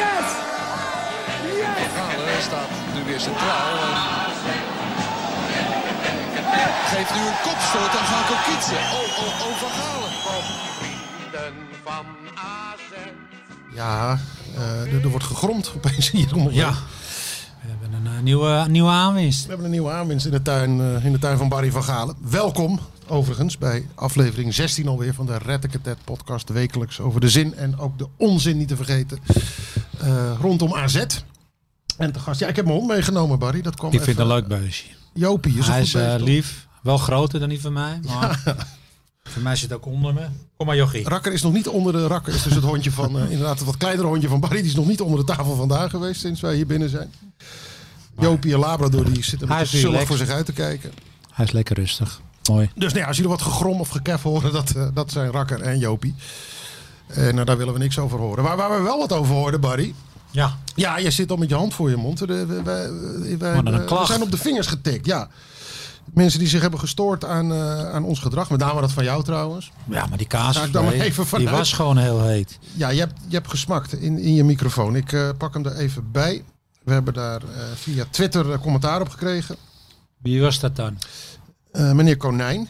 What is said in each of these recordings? Yes! Yes! Galen staat nu weer centraal. En... Geeft nu een kopstoot aan Gaco Kietsen. Oh, oh, oh, Van Galen. Ja, eh, er, er wordt gegromd opeens hier om. Ja. We hebben een eh, nieuwe, nieuwe aanwinst. We hebben een nieuwe aanwinst in de tuin, eh, in de tuin van Barry van Galen. Welkom, overigens, bij aflevering 16 alweer van de Rettekatet podcast. Wekelijks over de zin en ook de onzin niet te vergeten eh, rondom AZ. En te gast, ja, ik heb mijn hond meegenomen, Barry. Dat kwam Ik vind het even- een leuk beestje. Jopie is een Hij goed is eh, beest, toch? lief. Wel groter dan die van mij. Maar Voor mij zit ook onder me. Kom maar Jochie. Rakker is nog niet onder de rakker. Is dus het hondje van, eh, inderdaad, het wat kleinere hondje van Barry. Die is nog niet onder de tafel vandaag geweest sinds wij hier binnen zijn. Jopie en Labrador, die zitten Hij een is beetje zullig relaxed. voor zich uit te kijken. Hij is lekker rustig. Mooi. Dus nou ja, als jullie wat gegrom of gekef horen, dat, eh, dat zijn Rakker en Jopie. Eh nou, daar willen we niks over horen. Maar waar we wel wat over hoorden, Barry. Ja. Ja, je zit al met je hand voor je mond. Eh, we- we- we- we- een we klacht. zijn op de vingers getikt, ja. Mensen die zich hebben gestoord aan, eh, aan ons gedrag. Met name dat van jou trouwens. Ja, maar die kaas Ga ik dan maar nee, even die vanuit. was gewoon heel heet. Ja, je hebt, je hebt gesmakt in, in je microfoon. Ik eh, pak hem er even bij. We hebben daar eh, via Twitter eh, commentaar op gekregen. Wie was dat dan? Eh, meneer Konijn.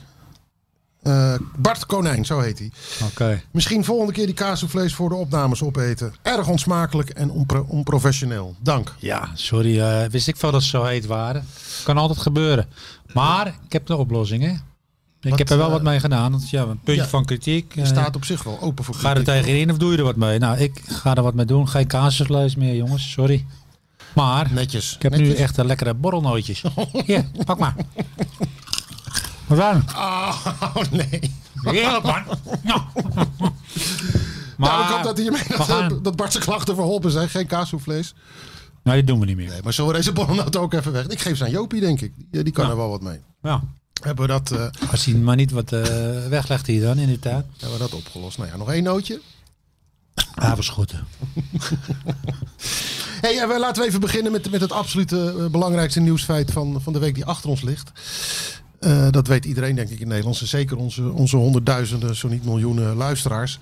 Eh, Bart Konijn, zo heet hij. Oké. Misschien volgende keer die kaassoufflés voor de opnames opeten. Erg onsmakelijk en onpro- onprofessioneel. Dank. Ja, sorry. eh, wist ik veel dat ze zo heet waren. Kan altijd gebeuren. Maar ik heb de oplossing, hè. Ik Wat, heb er wel wat eh, mee gedaan. want ja, een puntje ja, van kritiek. Je eh, staat op zich wel open voor Ga er kritiek. tegenin of doe je er wat mee? Nou, ik ga er wat mee doen. Geen kaasjesluis meer, jongens. Sorry. Maar Netjes. ik heb netjes. nu echt een lekkere borrelnootjes. Hier, pak maar. Wat dan? Oh nee. Ja, man. Ja. Maar nou, ik hoop dat, hiermee, we dat, gaan- dat Bart zijn klachten verholpen zijn. Geen kaassoufflés. Nee, die doen we niet meer. Nee, maar zullen we deze bollennoot ook even weg? Ik geef ze aan Jopie, denk ik. Die, die kan er wel wat mee. Ja. Hebben we dat, eh, Als hij maar niet wat eh, weglegt hier dan, inderdaad. hebben we dat opgelost? Nou ja, nog één nootje. Havenschotten. Hey, eh, we- laten we even beginnen met, met het absolute eh, belangrijkste nieuwsfeit van, van de week die achter ons ligt. Eh, dat weet iedereen, denk ik, in Nederland. En zeker onze, onze honderdduizenden, zo niet miljoenen luisteraars.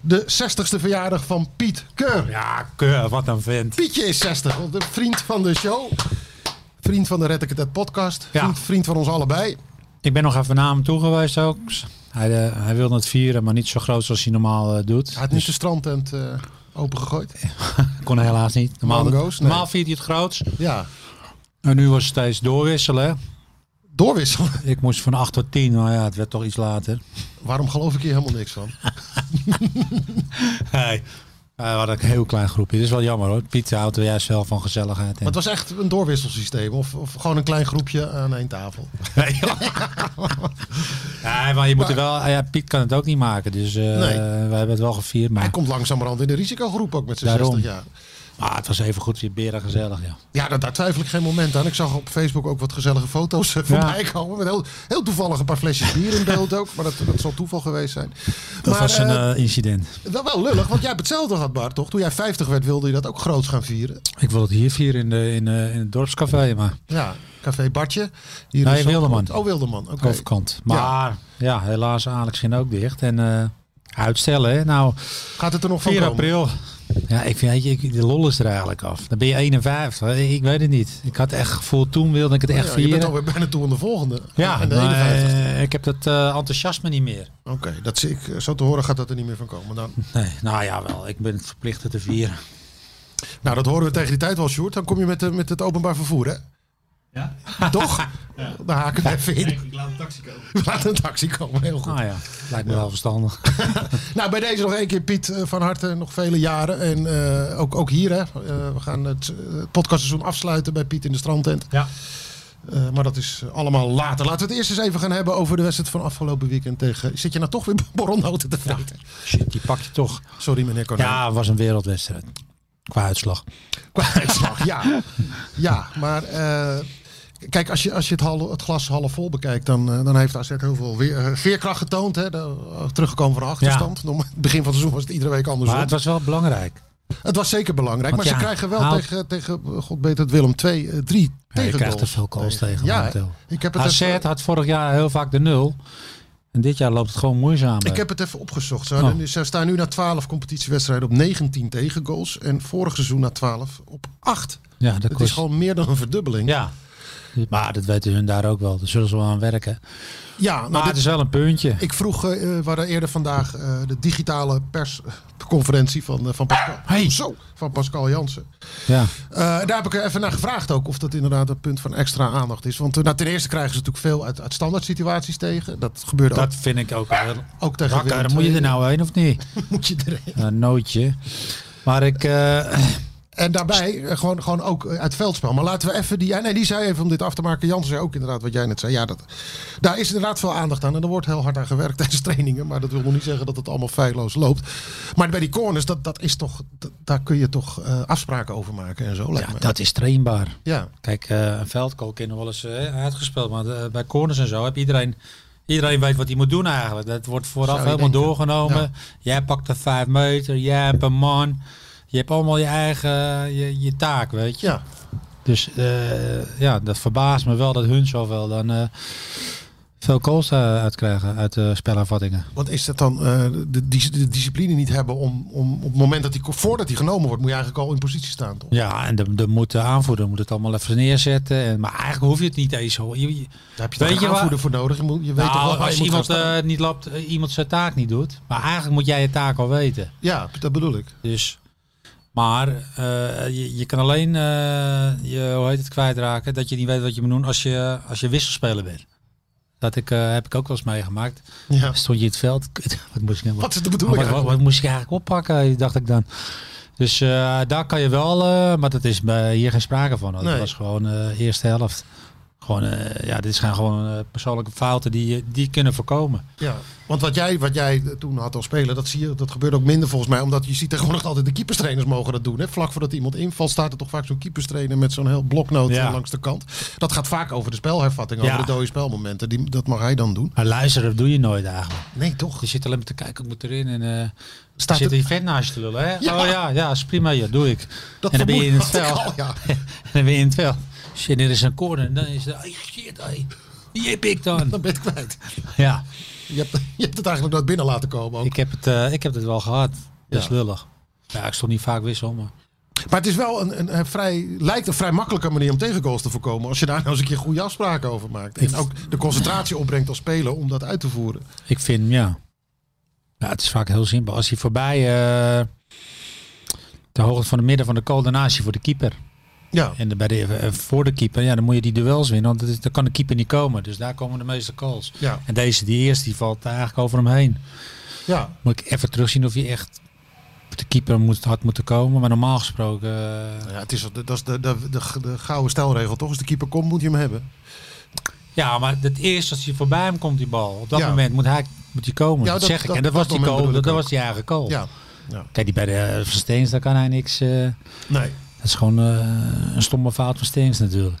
De 60ste verjaardag van Piet Keur. Ja, keur, wat een vent. Pietje is 60, de vriend van de show. Vriend van de Red Ik Het Uit podcast. Ja. Vriend, vriend van ons allebei. Ik ben nog even naar hem toe geweest ook. Hij, eh, hij wilde het vieren, maar niet zo groot zoals hij normaal eh, doet. Hij had niet de strandtent eh opengegooid. Kon helaas niet. Normaal, Mango's, nee. normaal viert hij het groots. Ja, En nu was het steeds doorwisselen. doorwisselen. Ik moest van 8 tot 10, maar ja, het werd toch iets later. Waarom geloof ik hier helemaal niks van? Hey. We hadden een heel klein groepje. Dat is wel jammer hoor. Piet houdt er juist wel van gezelligheid. En... Maar het was echt een doorwisselsysteem. Of, of gewoon een klein groepje aan één tafel. ja, maar je moet er wel... Ja, Piet kan het ook niet maken. Dus eh Nee. we hebben het wel gevierd. Maar, Hij komt langzamerhand in de risicogroep ook met zijn Daarom. 60 jaar. maar Ah, het was even goed weer beren gezellig. Ja. Ja, daar, daar twijfel ik geen moment aan. Ik zag op Facebook ook wat gezellige foto's eh, voorbij komen. Met heel, heel toevallig een paar flesjes bier in beeld ook. Maar dat, dat zal toeval geweest zijn. Dat maar was een eh, eh, incident. wel, wel lullig, want jij hebt hetzelfde gehad, Bart, toch? Toen jij 50 werd, wilde je dat ook groots gaan vieren. Ik wilde het hier vieren in, de, in, eh, in het dorpscafé, maar Ja, Café Bartje. Hier Nee, in Zandvoort. Wilderman. Oh, Wilderman. Oké. overkant. Maar ja, helaas Alex ging ook dicht. En eh, uitstellen, hè. Nou, Gaat het er nog van 4 komen? april. Ja, ik vind, weet je, ik, de lol is er eigenlijk af. Dan ben je 51. Ik, ik weet het niet. Ik had echt gevoel, toen wilde ik het echt Ja, je bent vieren. alweer bijna toe aan de volgende. ja, en de maar, 51. eh, ik heb dat eh, enthousiasme niet meer. Oké, dat zie ik. eh, Zo te horen gaat dat er niet meer van komen dan. Nee, nou ja, wel. Ik ben het verplicht het te vieren. Nou, dat horen we tegen die tijd wel, Sjoerd. Dan kom je met, de, met het openbaar vervoer, hè? Ja. Toch? Daar haken we even in. Ik laat een taxi komen. We laten een taxi komen, heel goed. Nou ja, lijkt me wel verstandig. Nou, bij deze nog één keer, Piet, eh, van harte nog vele jaren. En eh, ook, ook hier, hè. Eh, we gaan het eh, het podcastseizoen afsluiten bij Piet in de strandtent. Ja. Eh, maar dat is allemaal later. Laten we het eerst eens even gaan hebben over de wedstrijd van afgelopen weekend tegen... Zit je nou toch weer borrelnoten te vreten? Shit, die pak je toch. Sorry, meneer Konijn. Ja, het was een wereldwedstrijd. Qua uitslag. Qua uitslag, ja. Ja, maar eh, kijk, als je, als je het, hal- het glas half vol bekijkt, dan, eh, dan heeft AZ heel veel weer, eh, veerkracht getoond. Hè, de, eh, teruggekomen van de achterstand. Normaal- het begin van het seizoen was het iedere week anders. Maar het was wel belangrijk. Het was zeker belangrijk, Want maar ze ja, krijgen wel haal- tegen, tegen, eh, god beter het Willem, 2, 3 Ja, je tegen krijgt er veel calls tegen. Ja, momenteel. ik heb het AZ even- had vorig jaar heel vaak de nul. En dit jaar loopt het gewoon moeizamer. Ik heb het even opgezocht. Ze, hadden Oh. nu- ze staan nu na 12 competitiewedstrijden op 19 tegengoals. En vorig seizoen na 12 op 8. ja, dat Het is kost... gewoon meer dan een verdubbeling. Ja. Maar dat weten hun daar ook wel. Daar zullen ze wel aan werken. Ja, nou, Maar dit- het is wel een puntje. Ik vroeg, eh, eh, we hadden eerder vandaag eh, de digitale persconferentie van, eh, van Pascal. Hey. Zo, van Pascal Jansen. Ja. Eh, daar heb ik er even naar gevraagd ook of dat inderdaad een punt van extra aandacht is. Want eh, nou, ten eerste krijgen ze natuurlijk veel uit, uit standaard situaties tegen. Dat gebeurde Dat vind ik ook heel... ook, ook tegen Rakker, Willem moet je II. er nou heen of niet? moet je erheen. Een nootje. Maar ik... eh, En daarbij eh, gewoon, gewoon ook eh, uit veldspel. Maar laten we even die. ja, Nee, die zei even om dit af te maken. Jansen zei ook inderdaad wat jij net zei. Ja, dat, daar is inderdaad veel aandacht aan. En er wordt heel hard aan gewerkt tijdens trainingen. Maar dat wil nog niet zeggen dat het allemaal feilloos loopt. Maar bij die corners, dat, dat is toch, dat- daar kun je toch eh, afspraken over maken en zo. Lijkt ja, me. dat is trainbaar. ja. Kijk, eh, een veldkool kan nog wel eens eh, uitgespeeld. Maar eh, bij corners en zo heb iedereen... Iedereen weet wat hij moet doen eigenlijk. Dat wordt vooraf Zou je helemaal denken. doorgenomen. Ja. Jij pakt de vijf meter. Jij hebt een man. Je hebt allemaal je eigen eh, je, je taak, weet je. ja. Dus eh, ja, dat verbaast me wel dat hun zoveel dan eh, veel calls eh, uitkrijgen uit de spelervattingen. Wat is dat dan? eh, de, dis- de discipline niet hebben om, om op het moment dat die, voordat die genomen wordt, moet je eigenlijk al in positie staan. Toch? Ja, en de, de, moet de aanvoerder moet het allemaal even neerzetten. En, maar eigenlijk hoef je het niet eens. hoor. Je, je- Daar heb je toch Weet een je waar- aanvoerder voor nodig. Je, moet, je weet toch wel nou, waar je als moet gaan iemand staan? eh, niet loopt, eh, iemand zijn taak niet doet. Maar eigenlijk moet jij je taak al weten. Ja, dat bedoel ik. Dus, maar eh, je, je kan alleen eh, je, hoe heet het, kwijtraken dat je niet weet wat je moet doen als je, als je wisselspeler bent. Dat ik, eh, heb ik ook wel eens meegemaakt. Ja. Stond je in het veld. kut, Wat moest ik nou- Wat is de bedoeling? wat, wat, wat moest ik eigenlijk oppakken, dacht ik dan. Dus eh, daar kan je wel, eh, maar dat is bij hier geen sprake van. Het Nee. was gewoon eh, eerste helft. Gewoon, eh, ja, dit zijn gewoon eh, persoonlijke fouten die, je- die je kunnen voorkomen. Ja, want wat jij, wat jij toen had als speler, dat, zie je, dat gebeurt ook minder volgens mij. Omdat je ziet tegenwoordig altijd de keeperstrainers mogen dat doen. Hè? Vlak voordat iemand invalt staat er toch vaak zo'n keeperstrainer met zo'n heel bloknoot Ja. eh, langs de kant. Dat gaat vaak over de spelhervatting, Ja. over de dode spelmomenten. Die, dat mag hij dan doen. Maar luisteren doe je nooit eigenlijk. Nee, toch? Je zit alleen maar te kijken, ik moet erin. En eh Staat zit er- die vent naast je te lullen. Hè? Ja. Oh ja, ja, is prima, ja, doe ik. en dan ben je in vermoed- het veld. had ik al, ja. en dan ben je in het veld. Shit, er is een corner. En dan is het, hey, shit, hey. Die heb ik dan. Dan ben je het kwijt. Ja. Je hebt, je hebt het eigenlijk nooit binnen laten komen. Ook. Ik heb het, eh, ik heb het wel gehad. Dat is Ja. lullig. Ja, ik stond niet vaak wissel, maar... Maar het is wel een, een, een vrij, lijkt een vrij makkelijke manier om tegengoals te voorkomen. Als je daar nou eens een keer goede afspraken over maakt. En ook de concentratie opbrengt als speler om dat uit te voeren. Ik vind, ja... ja het is vaak heel simpel. Als hij voorbij... eh de hoogte van de midden van de kool, daarna is hij voor de keeper. Ja. En de- bij de, eh, voor de keeper, ja, dan moet je die duels winnen. Want dat is- dan kan de keeper niet komen. Dus daar komen de meeste calls. Ja. En deze, die eerste, die valt eigenlijk over hem heen. ja. Moet ik even terugzien of je echt... De keeper moet, had moeten komen. Maar normaal gesproken... eh, Nou Ja, het is, dat is de, de, de, de gouden stelregel, toch? Als de keeper komt, moet je hem hebben. Ja, maar het eerst als hij voorbij hem komt, die bal. Op dat Ja. moment moet hij, moet hij komen. Ja, dat, dat- zeg ik. dat- en dat, dat was die moment goal. bedoel Dat, ik ook. was die eigen goal. Ja. Kijk, die bij de eh, van Steens, daar kan hij niks. eh, Nee. dat is gewoon eh, een stomme fout van Steens natuurlijk.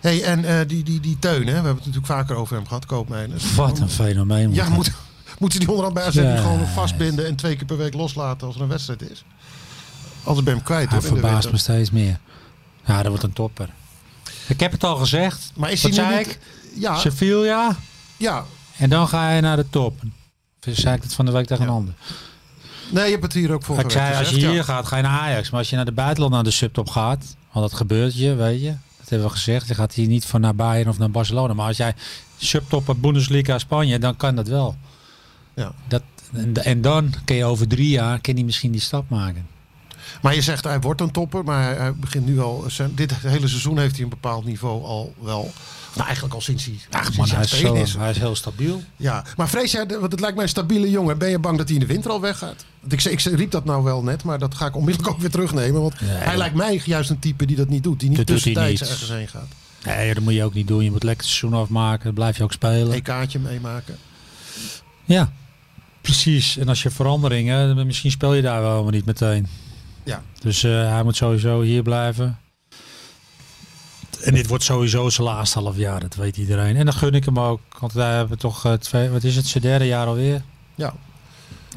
hey, en eh, die, die, die Teun, hè? we hebben het natuurlijk vaker over hem gehad, Koopmeiners. Wat een fenomeen. Ja, man. moet, moeten die onderhand bij AZ niet Ja. gewoon vastbinden en twee keer per week loslaten als er een wedstrijd is? Anders ben je hem kwijt, hij hoor, in de verbaast me winter. steeds meer. Ja, dat wordt een topper. Ik heb het al gezegd. Maar is Wat hij nu zei niet... ik? Ja, Sevilla. ja. En dan ga je naar de top. Dus zei ik het van de week tegen Ja. een ander. Nee, je hebt het hier ook voor Ik zei, als je hier gaat, ga je naar Ajax. Maar als je naar de buitenland, naar de subtop gaat, want dat gebeurt je, weet je. Dat hebben we gezegd. Je gaat hier niet van naar Bayern of naar Barcelona. Maar als jij subtop op Bundesliga Spanje, dan kan dat wel. Ja. Dat, en, en dan kun je over drie jaar kun je misschien die stap maken. Maar je zegt, hij wordt een topper, maar hij, hij begint nu al... eh, zijn- Dit hele seizoen heeft hij een bepaald niveau al wel... Nou, eigenlijk al sinds hij... Ach sinds man, hij hij is, trainer zo, is. hij is heel stabiel. Ja, maar vrees jij, want het lijkt mij een stabiele jongen. Ben je bang dat hij in de winter al weggaat? Want ik, ik riep dat nou wel net, maar dat ga ik onmiddellijk ook weer terugnemen. Want hij dat- lijkt mij juist een type die dat niet doet. Die niet Dat doet hij tussentijds niet. ergens heen gaat. Nee, dat moet je ook niet doen. Je moet lekker het seizoen afmaken. Dan blijf je ook spelen. Een kaartje meemaken. Ja, precies. En als je veranderingen, dan misschien speel je daar wel helemaal niet meteen. Ja. Dus eh, hij moet sowieso hier blijven. En dit wordt sowieso zijn laatste half jaar, dat weet iedereen. En dan gun ik hem ook, want wij hebben toch eh, twee, wat is het, zijn derde jaar alweer. Ja.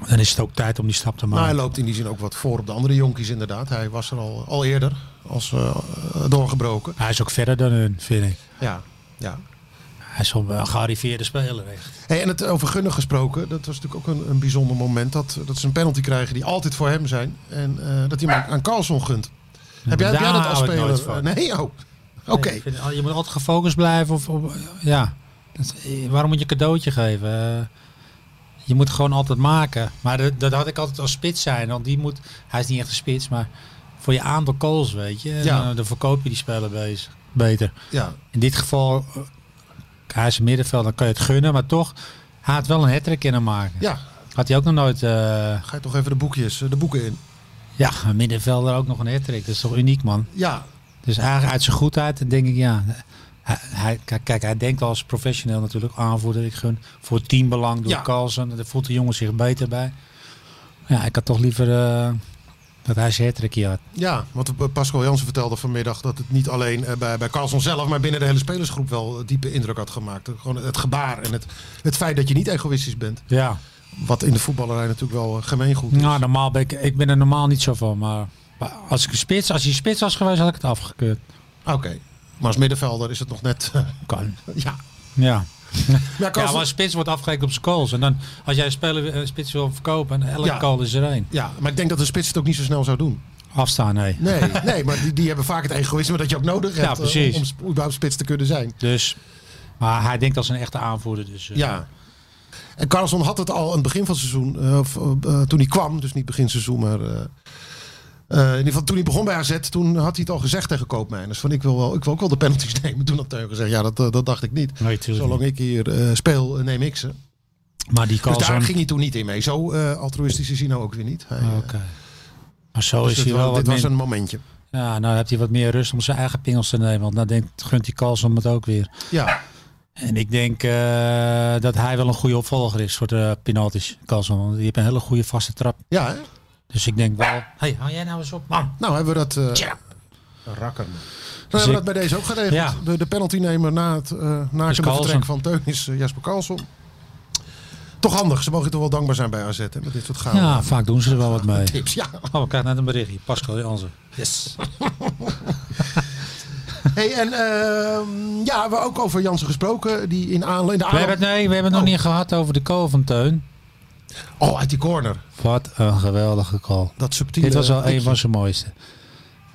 Dan is het ook tijd om die stap te Maar maken. Nou, hij loopt in die zin ook wat voor op de andere jonkies inderdaad. Hij was er al, al eerder als eh, doorgebroken. hij is ook verder dan hun, vind ik. Ja, ja. Hij is wel een gearriveerde speler, echt. Hey, en het over Gunnen gesproken, dat was natuurlijk ook een, een bijzonder moment. Dat, dat ze een penalty krijgen die altijd voor hem zijn. En eh, dat hij hem aan- aan Carlson gunt. Heb jij, heb jij Daar dat als hou ik speler? nooit van. Nee, oh. Oké. Ik vind, oh, je moet altijd gefocust blijven. Of, op- ja. Dat- eh, waarom moet je een cadeautje geven? Eh, je moet gewoon altijd maken. Maar dat, dat had ik altijd als spits zijn. Want die moet, hij is niet echt een spits, maar voor je aantal goals, weet je. Ja. Dan, dan verkoop je die speler bezig, beter. Ja, In dit geval, eh, hij is een middenveld, dan kan je het gunnen. Maar toch, hij had wel een hat-trick kunnen maken. ja. Had hij ook nog nooit... eh, Ga je toch even de boekjes, eh, de boeken in. ja, een middenvelder ook nog een hat-trick. Dat is toch uniek, man. Ja, Dus eigenlijk uit zijn goedheid denk ik ja. Hij, hij- kijk, kijk, hij denkt als professioneel natuurlijk aanvoerder. Ik gun voor teambelang door Ja. Carlsen. Daar voelt de jongen zich beter bij. Ja, ik had toch liever eh, dat hij zijn hattrick hier had. ja, want eh, Pascal Jansen vertelde vanmiddag dat het niet alleen eh, bij, bij Carlson zelf, maar binnen de hele spelersgroep wel eh, diepe indruk had gemaakt. Gewoon het gebaar en het, het feit dat je niet egoïstisch bent. Ja. Wat in de voetballerij natuurlijk wel eh, gemeengoed is. Nou, normaal ben ik, ik ben er normaal niet zo van. Maar maar als, ik een spits, als hij spits was geweest, had ik het afgekeurd. Oké. Maar als middenvelder is het nog net. Kan. ja. Ja. Ja, ja, Carlsen- maar een spits wordt afgerekend op zijn calls. En dan, als jij een speler, een spits wil verkopen, en elke Ja. call is er één. Ja, maar ik denk dat de spits het ook niet zo snel zou doen. Afstaan, nee. Nee, nee maar die, die hebben vaak het egoïsme dat je ook nodig Ja, hebt eh, precies. om, om überhaupt spits te kunnen zijn. Dus, maar hij denkt als een echte aanvoerder. Dus, eh, Ja. En Carlson had het al aan het begin van het seizoen, eh, of, eh, toen hij kwam, dus niet begin seizoen, maar eh, eh, in ieder geval toen hij begon bij AZ, toen had hij het al gezegd tegen Koopmeiners. Van ik wil, wel, ik wil ook wel de penalties nemen. Toen had hij gezegd, ja dat, eh, dat dacht ik niet. Nee, tuurlijk Zolang ik hier eh, speel, eh, neem ik ze. Maar die Dus daar Carlson... ging hij toen niet in mee. Zo eh, altruïstisch is hij nou ook weer niet. Hij, eh, Oké. Maar zo dus is dit hij wel was- wat dit was min... een momentje. Ja, nou heeft hij wat meer rust om zijn eigen pingels te nemen. Want nou denkt, gunt die Carlson het ook weer. Ja, En ik denk eh, dat hij wel een goede opvolger is voor de penalties, Carlson. Want die heeft een hele goede vaste trap. ja hè? Dus ik denk wel... hey, hou jij nou eens op, man. Nou, hebben we dat. eh Tja. Rakker. Nou, Dus hebben we ik- dat bij deze ook geregeld. Ja. De, de penaltynemer na het eh nakende Carlsen. vertrek van Teun is eh, Jasper Carlson. Toch handig. Ze mogen toch wel dankbaar zijn bij AZ hè, met dit soort gaan. Ja, vaak doen ze er wel wat mee. Tips, ja. Oh, we krijgen net een berichtje. Pascal Jansen. Yes. Hey, en ehm, ja, we hebben ook over Jansen gesproken. Die in, aanle- in de We hebben het, aanloop... nee, we hebben het Oh. nog niet gehad over de call van Teun. Oh, uit die corner. Wat een geweldige call. Dat subtiele... Dit was wel tikje. een van zijn mooiste.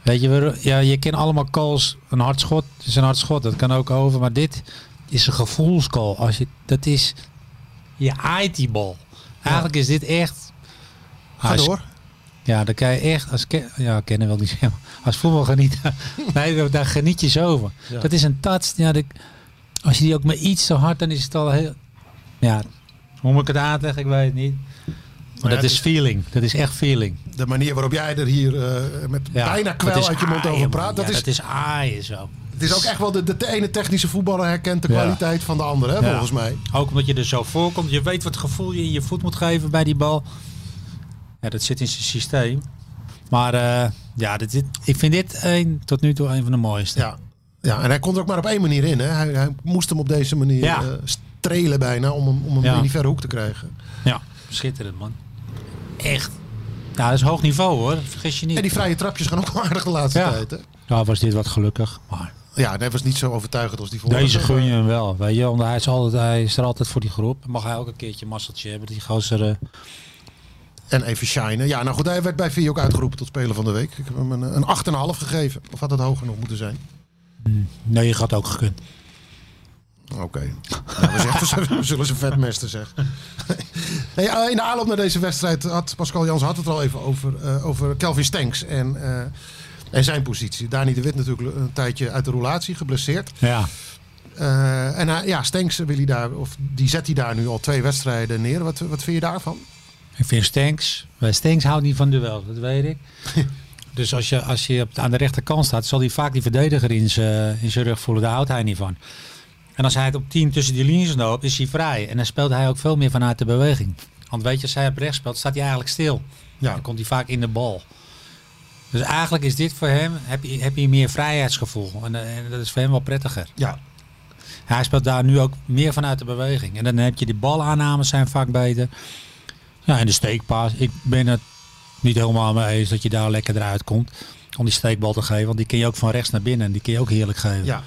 Weet je, we- ja, je kent allemaal calls. Een hard schot is een hard schot. Dat kan ook over. Maar dit is een gevoelscall. Als je, dat is... Je aait die bal. Eigenlijk is dit echt... Ga Als- door. Ja, dan kan je echt... Als, ke- ja, kennen wil ik niet zeggen. maar Als voetbal genieten. nee, daar- daar geniet je zo van. Ja. Dat is een touch. Ja, dat- als je die ook maar iets te hard... Dan is het al heel... Ja, hoe moet ik het aanleggen? Ik weet het niet. Maar ja, dat het is feeling. Dat is echt feeling. De manier waarop jij er hier eh, met Ja, bijna dat kwel is uit je mond aaien, over man. praat. Dat, Ja, is, dat is aaien zo. Het is ook echt wel de, de, de ene technische voetballer herkent de Ja. kwaliteit van de andere, hè, Ja. volgens mij. Ook omdat je er zo voorkomt. Je weet wat gevoel je in je voet moet geven bij die bal. Ja, dat zit in zijn systeem. Maar eh, ja, dit, dit- ik vind dit een, tot nu toe een van de mooiste. Ja. ja, en hij kon er ook maar op één manier in. Hè. Hij, hij moest hem op deze manier Ja. eh, strelen bijna om hem, om hem Ja. in die verre hoek te krijgen. Ja, schitterend man. Echt. Ja, dat is hoog niveau hoor. Vergis je niet. En die vrije trapjes gaan ook wel aardig de laatste Ja. tijd. Hè. Nou was dit wat gelukkig. Maar Ja, en hij was niet zo overtuigend als die vorige. deze gun je hem wel. Weet je, want hij is, altijd, hij is er altijd voor die groep. Mag hij ook een keertje een masseltje hebben. Die gozer... eh, En even shinen. Ja, nou goed, hij werd bij Vier ook uitgeroepen tot speler van de week. Ik heb hem een, een 8,5 gegeven. Of had dat hoger nog moeten zijn? nee, je had ook gekund. Oké. Nou, we, zeggen- we zullen ze vetmesten zeggen. Nee, eh, in de aanloop naar deze wedstrijd had Pascal Jans had het er al even over, eh, over Kelvin Stenks en, eh, en zijn positie. Dani de Wit natuurlijk een tijdje uit de roulatie, geblesseerd. Ja. Eh, en hij- ja, Stenks wil hij daar, of die zet hij daar nu al twee wedstrijden neer. Wat, wat vind je daarvan? Ik vind Stenks. Bij Stenks houdt niet van duel, dat weet ik. dus als je, als je op de- aan de rechterkant staat, zal hij vaak die verdediger in zijn in zijn rug voelen. Daar houdt hij niet van. En als hij het op 10 tussen die linies loopt, is hij vrij. En dan speelt hij ook veel meer vanuit de beweging. Want weet je, als hij op rechts speelt, staat hij eigenlijk stil. Ja. Dan komt hij vaak in de bal. Dus eigenlijk is dit voor hem, heb je, heb je meer vrijheidsgevoel. En, eh, en dat is voor hem wel prettiger. Ja, Hij speelt daar nu ook meer vanuit de beweging. En dan heb je die balaannames zijn vaak beter. Ja, en de steekpaas. Ik ben het niet helemaal mee eens dat je daar lekker eruit komt. Om die steekbal te geven. Want die kun je ook van rechts naar binnen. En die kun je ook heerlijk geven. ja.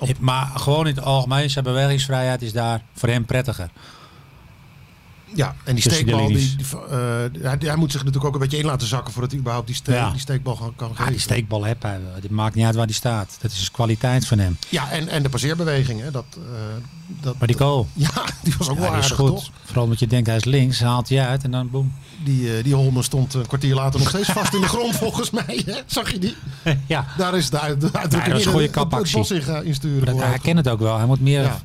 Ik- Maar gewoon in het algemeen, zijn bewegingsvrijheid is daar voor hem prettiger. Ah, Ja, en die Tussen steekbal, de die, linies. die, eh, hij, hij moet zich natuurlijk ook een beetje in laten zakken voordat hij überhaupt die, ste- Ja. die steekbal kan, kan Ja, geven. die steekbal heb hij wel. Het maakt niet uit waar die staat. Dat is dus kwaliteit van hem. Ja, en, en de passeerbeweging. Hè, dat, eh, dat, Maar die goal, ja, die was ook ja, wel die is aardig, goed. toch? Vooral omdat je denkt hij is links, haalt hij uit en dan boem. Die, eh, die Holmen stond een kwartier later nog steeds vast in de grond, volgens mij. Hè? Zag je die? ja, Daar is de, uit- de uitdrukking een in, goede het- het- kapactie. Het bos in gaan insturen. dat, voor hij kent het ook wel. Hij moet meer, Ja.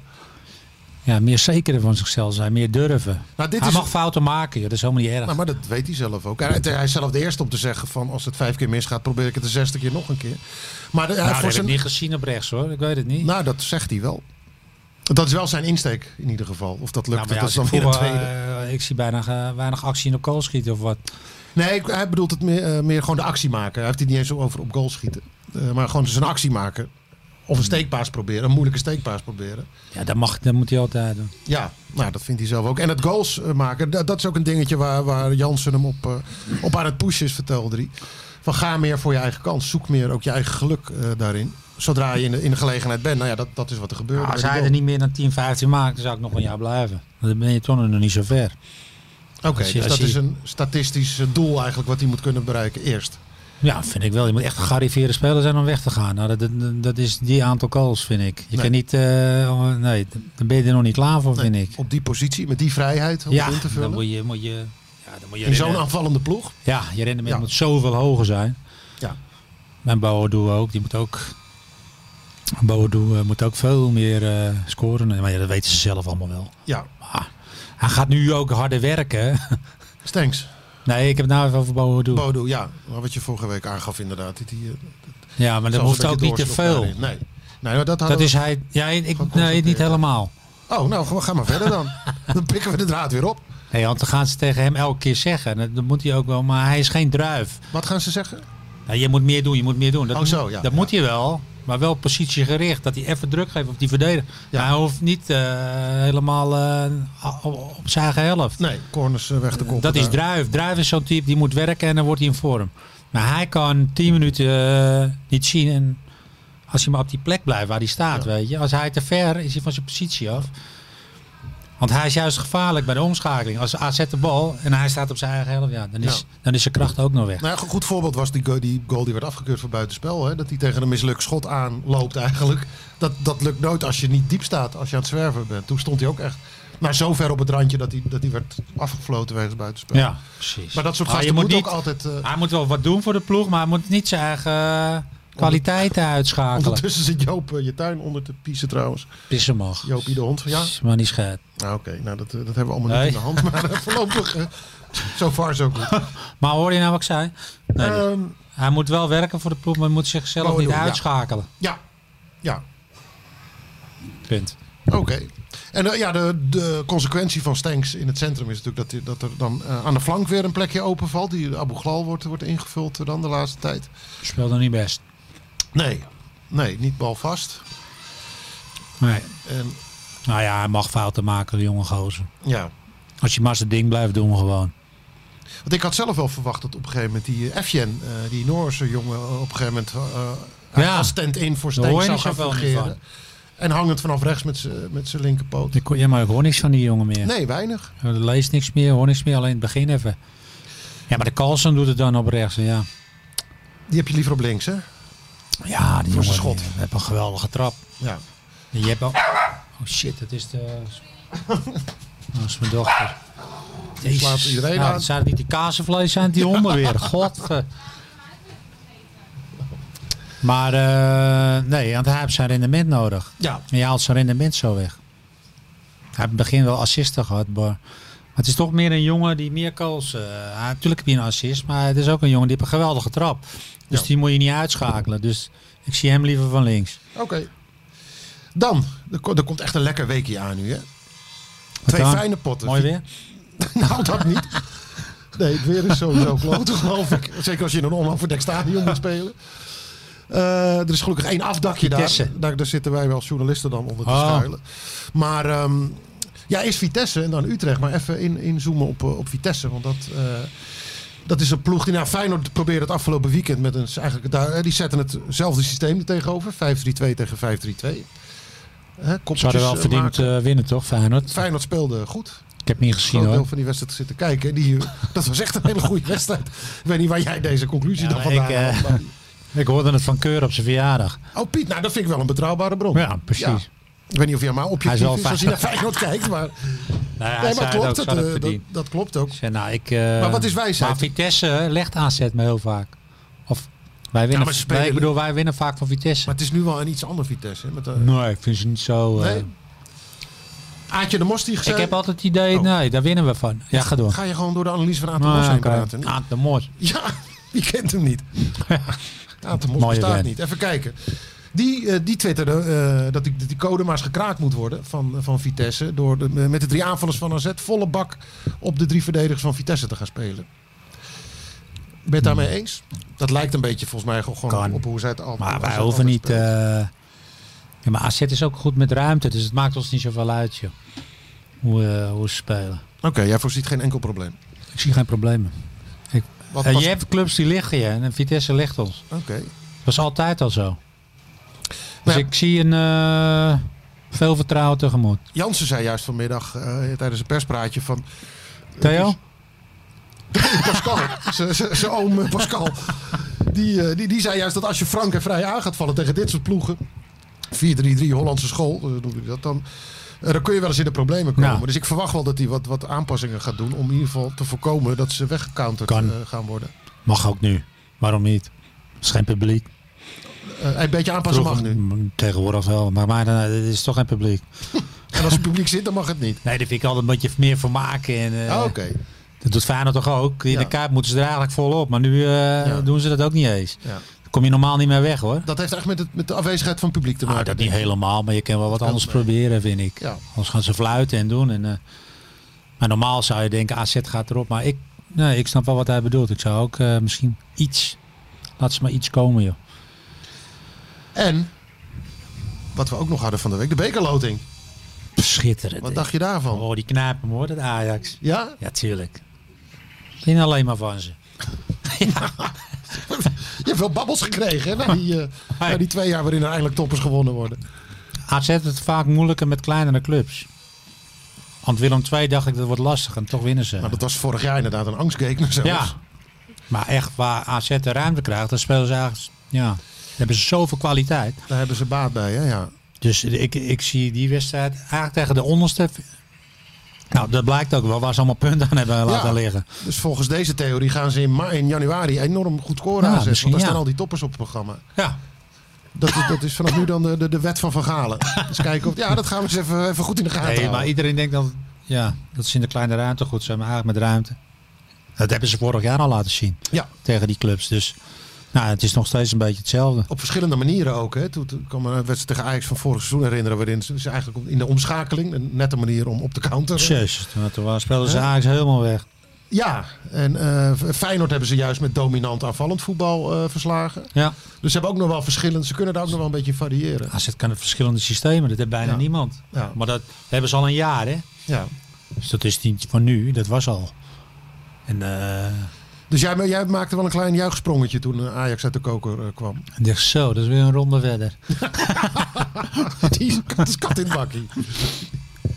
ja. meer zekerder van zichzelf zijn, meer durven. Nou, dit hij is- mag fouten maken, joh. dat is helemaal niet erg. Nou, maar dat weet hij zelf ook. Hij, hij is zelf de eerste om te zeggen van als het vijf keer misgaat, probeer ik het de zesde keer nog een keer. Maar de, hij nou, voor dat heb zijn- ik niet gezien op rechts hoor, ik weet het niet. nou, dat zegt hij wel. Dat is wel zijn insteek in ieder geval. Of dat Nou, lukt, maar ja, dat als is dan ik weer een voetbal, tweede. eh, ik zie bijna eh, weinig actie in op kool schieten of wat. Nee, ik- hij bedoelt het meer, eh, meer gewoon de actie maken. Hij heeft het niet eens over op goal schieten. Eh, maar gewoon zijn actie maken. Of een steekpaas proberen, een moeilijke steekpaas proberen. Ja, dat, mag, dat moet hij altijd doen. Ja, nou, dat vindt hij zelf ook. En het goals eh, maken, dat, dat is ook een dingetje waar, waar Jansen hem op, eh, op aan het pushen is, vertelde hij. Van ga meer voor je eigen kans. Zoek meer ook je eigen geluk eh, daarin. Zodra je in de, in de gelegenheid bent. Nou ja, dat, dat is wat er gebeurt. Nou, als hij er niet meer dan 10, 15 maakt, dan zou ik nog een jaar blijven. Dan ben je toch nog niet zo ver. Oké, je- dus als dat je- is een statistisch eh, doel eigenlijk wat hij moet kunnen bereiken eerst. Ja, vind ik wel. Je moet echt een gearriveerde speler zijn om weg te gaan. Nou, dat, dat, dat is die aantal calls, vind ik. Je Nee. kan niet... eh, nee, dan ben je er nog niet klaar voor, vind ik. Op die positie, met die vrijheid om Ja, in te vullen. dan moet je... Moet je ja, dan moet je in zo'n rennen- aanvallende ploeg. Ja, je rendement Ja. moet zoveel hoger zijn. Ja. En Boadu ook, die moet ook... Boadu eh, moet ook veel meer eh, scoren. Maar ja, dat weten ze zelf allemaal wel. Ja, Hij gaat nu ook harder werken. Stenks. nee, ik heb het nou even over Boadu. Bodo, ja. Maar Wat je vorige week aangaf inderdaad. Dat die, eh, ja, maar dat zelfs hoeft een ook beetje niet te doorsloeg veel. daarin. Nee. nee, maar dat hadden Dat we- is hij... Ja, ik, nee, niet concentreren. helemaal. Oh, nou, ga- ga maar verder dan. dan pikken we de draad weer op. Nee, want dan gaan ze tegen hem elke keer zeggen. Dat, dat moet hij ook wel, maar hij is geen druif. Wat gaan ze zeggen? Nou, je moet meer doen, je moet meer doen. Dat, Oh, zo, ja, dat ja. moet hij wel, maar wel positiegericht. Dat hij even druk geeft op die verdediger. Ja. Hij hoeft niet eh, helemaal eh, op, op zijn eigen helft. Nee, corners eh, weg te koppen. Dat is daar. druif. Druif is zo'n type, die moet werken en dan wordt hij in vorm. Maar hij kan 10 minuten eh, niet zien. En als hij maar op die plek blijft waar hij staat, weet je. Als hij te ver is hij van zijn positie af. Want hij is juist gevaarlijk bij de omschakeling. Als AZ de bal en hij staat op zijn eigen helft, ja, dan, is, Ja. dan is zijn kracht ook nog weg. Nou, ja, een goed voorbeeld was die goal die, goal die werd afgekeurd voor buitenspel. Hè? Dat hij tegen een mislukt schot aan loopt eigenlijk. Dat, dat lukt nooit als je niet diep staat, als je aan het zwerven bent. Toen stond hij ook echt nou, zo ver op het randje dat hij, dat hij werd afgefloten wegens buitenspel. Ja, precies. Maar dat soort Ah, je gasten moet moet ook niet- altijd eh, Hij moet wel wat doen voor de ploeg, maar hij moet niet zijn eigen eh, kwaliteiten uitschakelen. Ondertussen zit Joop eh, je tuin onder te piezen trouwens. Pissen mag. Joopie de hond. Ja, Maar niet schijt. nou, oké. Nou, dat, eh, dat hebben we allemaal Nee. niet in de hand. Maar eh, voorlopig, eh, zo far zo goed. Maar hoor je nou wat ik zei? Nee, dus- Ehm, Hij moet wel werken voor de ploeg, maar hij moet zichzelf Bowen niet doen, ja. uitschakelen. ja, ja, Punt. oké. En eh, ja, de, de consequentie van Stenks in het centrum is natuurlijk dat, die- dat er dan eh, aan de flank weer een plekje openvalt. Die Abu Ghlal wordt, wordt ingevuld eh, dan de laatste tijd. Speelde niet best. Nee, nee, niet balvast. Nee. En Nou ja, hij mag fouten maken, de jonge gozer. ja, Als je maar zijn ding blijft doen gewoon. Want ik had zelf wel verwacht dat op een gegeven moment die eh, Efjen, die Noorse jongen, eh, op een gegeven moment eh, hij Ja. als stand-in voor Daar hoor Stenks je zou niet gaan zoveel meer fungeren. En hangend vanaf rechts met zijn- met zijn linkerpoot. Ik, ja, maar ik hoor niks van die jongen meer. Nee, weinig. Ik lees niks meer, hoor niks meer. Alleen het begin even. Ja, maar de Carlsen doet het dan op rechts. Ja, Die heb je liever op links, hè? ja die Voor zijn jongen schot. die heeft een geweldige trap. Ja. En je hebt ook... Oh shit, dat is de... Dat is mijn dochter. Jezus. slaat iedereen nou, aan. Zou het niet die kazenvlees zijn? Die honden weer. God. eh. Maar eh, nee, want hij heeft zijn rendement nodig. Ja. En je haalt zijn rendement zo weg. Hij heeft in het begin wel assisten gehad, maar... maar het is toch meer een jongen die meer calls... eh, hij- natuurlijk heb je een assist, maar het is ook een jongen die heeft een geweldige trap. Dus Ja. die moet je niet uitschakelen. Dus ik zie hem liever van links. Oké. Dan, er, ko- er komt echt een lekker weekje aan nu, hè? Wat Twee dan? fijne potten. Mooi weer. nou, dat niet. Nee, het weer is sowieso kloot, geloof ik. Zeker als je in een onafverdekt stadion moet spelen. Eh, er is gelukkig één afdakje daar. Vitesse. daar. Daar zitten wij wel als journalisten dan onder te Ah. schuilen. Maar ehm, ja, is Vitesse en dan Utrecht. Maar even in, inzoomen op, eh, op Vitesse. Want dat, eh, dat is een ploeg die... Nou, Feyenoord probeerde het afgelopen weekend met een... Eigenlijk, daar, eh, die zetten hetzelfde systeem er tegenover. 5-3-2 tegen 5-3-2. Hè, Ze hadden wel verdiend eh, winnen, toch, Feyenoord? Feyenoord speelde goed Ik heb niet groot gezien, deel hoor. van die wedstrijd zitten kijken. En Die, dat was echt een hele goede wedstrijd. Ik weet niet waar jij deze conclusie Ja, dan maar vandaan ik, eh, haalt, maar- Ik hoorde het van Keur op zijn verjaardag. Oh Piet, nou dat vind ik wel een betrouwbare bron. Ja, precies. Nou Ja. Ik weet niet of jij maar Hij is objectief wel is als je naar Feyenoord. Feyenoord kijkt. Maar, Nou, ja, hij nee, zei maar het ook, klopt, ze het, hadden eh, het dat, verdiend. dat klopt ook. Ik zei, nou, ik, Maar wat is wijsheid? wijsheid? Maar Vitesse eh, legt aanzet me heel vaak. Of wij winnen, maar ze spelen- wij, ik bedoel, wij winnen vaak van Vitesse. Maar het is nu wel een iets ander Vitesse. hè, Met, eh, nee, ik vind ze niet zo... eh, nee. Aatje de Mos die ik gezegd. heb altijd het idee, Oh. nee, daar winnen we van. Ja, ga door. Ga je gewoon door de analyse van Aatje de Nou, Mos ja, heen oké. praten? niet? Aan de moord. Ja, je kent hem niet. Ja, de mos Mooie bestaat band. niet. Even kijken. Die, eh, die twitterde eh, dat, die, dat die code maar eens gekraakt moet worden van, van Vitesse. Door de, eh, met de drie aanvallers van AZ volle bak op de drie verdedigers van Vitesse te gaan spelen. Ben je het daarmee eens? Dat lijkt een beetje volgens mij gewoon Kan. op hoe zij het altijd Maar als wij het hoeven altijd niet... speelt. eh, ja, maar AZ is ook goed met ruimte, dus het maakt ons niet zoveel uit, joh. Hoe, eh, hoe ze spelen. Oké, jij voorziet geen enkel probleem. Ik zie geen problemen. Wat Eh, was- je hebt clubs die liggen je en Vitesse ligt ons. Oké. Dat was altijd al zo. Dus Nou ja. ik zie een eh, veel vertrouwen tegemoet. Jansen zei juist vanmiddag eh, tijdens een perspraatje van... Theo? Pascal, zijn oom eh, Pascal. Die, eh, die, die zei juist dat als je frank en vrij aan gaat vallen tegen dit soort ploegen. 4-3-3 Hollandse school, eh, noem ik dat dan. eh, dan kun je wel eens in de problemen komen. Nou. Dus ik verwacht wel dat hij wat, wat aanpassingen gaat doen. Om in ieder geval te voorkomen dat ze weggecounterd Kan. eh, gaan worden. Mag ook nu. Waarom niet? Is geen publiek. Eh, een beetje aanpassen mag nu. Mm, Tegenwoordig wel. Maar, maar eh, er is toch geen publiek. En als het publiek zit, dan mag het niet. Nee, daar vind ik altijd een beetje meer voor maken. En, eh, Ah, Oké. Dat doet Feyenoord toch ook? In Ja. de kaart moeten ze er eigenlijk volop. Maar nu eh, doen ze dat ook niet eens. Ja. Dan kom je normaal niet meer weg hoor. Dat heeft echt met, het, met de afwezigheid van het publiek te maken. Ah, dat denk niet ik. helemaal, maar je kan wel wat Speelt anders mee. proberen, vind ik. Ja. Anders gaan ze fluiten en doen. En, eh, maar normaal zou je denken, AZ gaat erop. Maar ik, nee, ik snap wel wat hij bedoelt. Ik zou ook eh, misschien iets, laat ze maar iets komen joh. En wat we ook nog hadden van de week, de bekerloting. Schitterend. Wat hè. dacht je daarvan? Oh, die knijpen hoor, dat Ajax. Ja? Ja, tuurlijk. Vind alleen maar van ze. Je hebt wel babbels gekregen hè, na, die, eh, na die twee jaar waarin er eigenlijk toppers gewonnen worden. AZ heeft het vaak moeilijker met kleinere clubs. Want Willem II dacht ik dat wordt lastig en toch winnen ze. Maar Nou, dat was vorig jaar inderdaad een angstgekner zelfs. ja. Maar echt waar AZ de ruimte krijgt, dan spelen ze eigenlijk... Ja, dan hebben ze zoveel kwaliteit. Daar hebben ze baat bij, hè? Ja. Dus ik, ik zie die wedstrijd eigenlijk tegen de onderste... Nou, dat blijkt ook wel waar ze allemaal punten aan hebben laten liggen. Dus volgens deze theorie gaan ze in, ma- in januari enorm goed scoren Ja, aanzetten. misschien Want daar ja. staan al die toppers op het programma. Ja, Dat is, dat is vanaf nu dan de, de, de wet van Van Galen. Dus kijken of... Ja, dat gaan we eens even, even goed in de gaten nee, maar houden. iedereen denkt dan... Ja, dat ze in de kleine ruimte goed zijn, maar eigenlijk met ruimte. Dat hebben ze vorig jaar al laten zien Ja, tegen die clubs. Dus nou, het is nog steeds een beetje hetzelfde. op verschillende manieren ook. Hè. Toen, toen kwam er een wedstrijd tegen Ajax van vorig seizoen herinneren... waarin ze ze eigenlijk in de omschakeling... een nette manier om op te counteren. Jezus, toen, toen waren- speelden ze Ajax helemaal weg. Ja, en eh, Feyenoord hebben ze juist met dominant aanvallend voetbal eh, verslagen. Ja. Dus ze hebben ook nog wel verschillend. Ze kunnen daar ook nog wel een beetje in variëren. AZ kan het verschillende systemen, dat heeft bijna Ja. niemand. Ja. Maar dat hebben ze al een jaar, hè? Ja. Dus dat is niet van nu, dat was al. En eh Dus jij, jij maakte wel een klein juichsprongetje toen eh, Ajax uit de koker eh, kwam. ik dacht zo, dat is weer een ronde verder. Die dat is kat in het bakkie.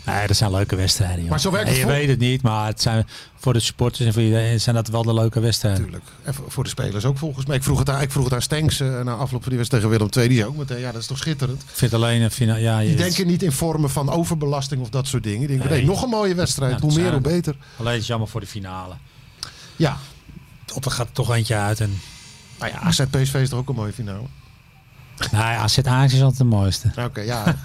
Nee, dat zijn leuke wedstrijden, joh. Maar zo werkt het Nee, Je vol- weet het niet, maar het zijn, voor de supporters en voor iedereen zijn dat wel de leuke wedstrijden. Tuurlijk. En voor voor de spelers ook volgens mij. Ik vroeg het aan, ik vroeg het aan Stenks eh, na afloop van die wedstrijd tegen Willem II. Die zei ook meteen, ja dat is toch schitterend. Ik vind alleen een finale... Ja, je, Die denken niet in vormen van overbelasting of dat soort dingen. Die denken, nee, Nee. nog een mooie wedstrijd. Ja, hoe dat meer, hoe zijn- beter. Alleen het is jammer voor de finale. Ja. Op dan gaat er toch eentje uit. En, Nou ja, AZ PSV is toch ook een mooie finale. nee, AZ Ajax is altijd het mooiste. Nou, Oké, ja.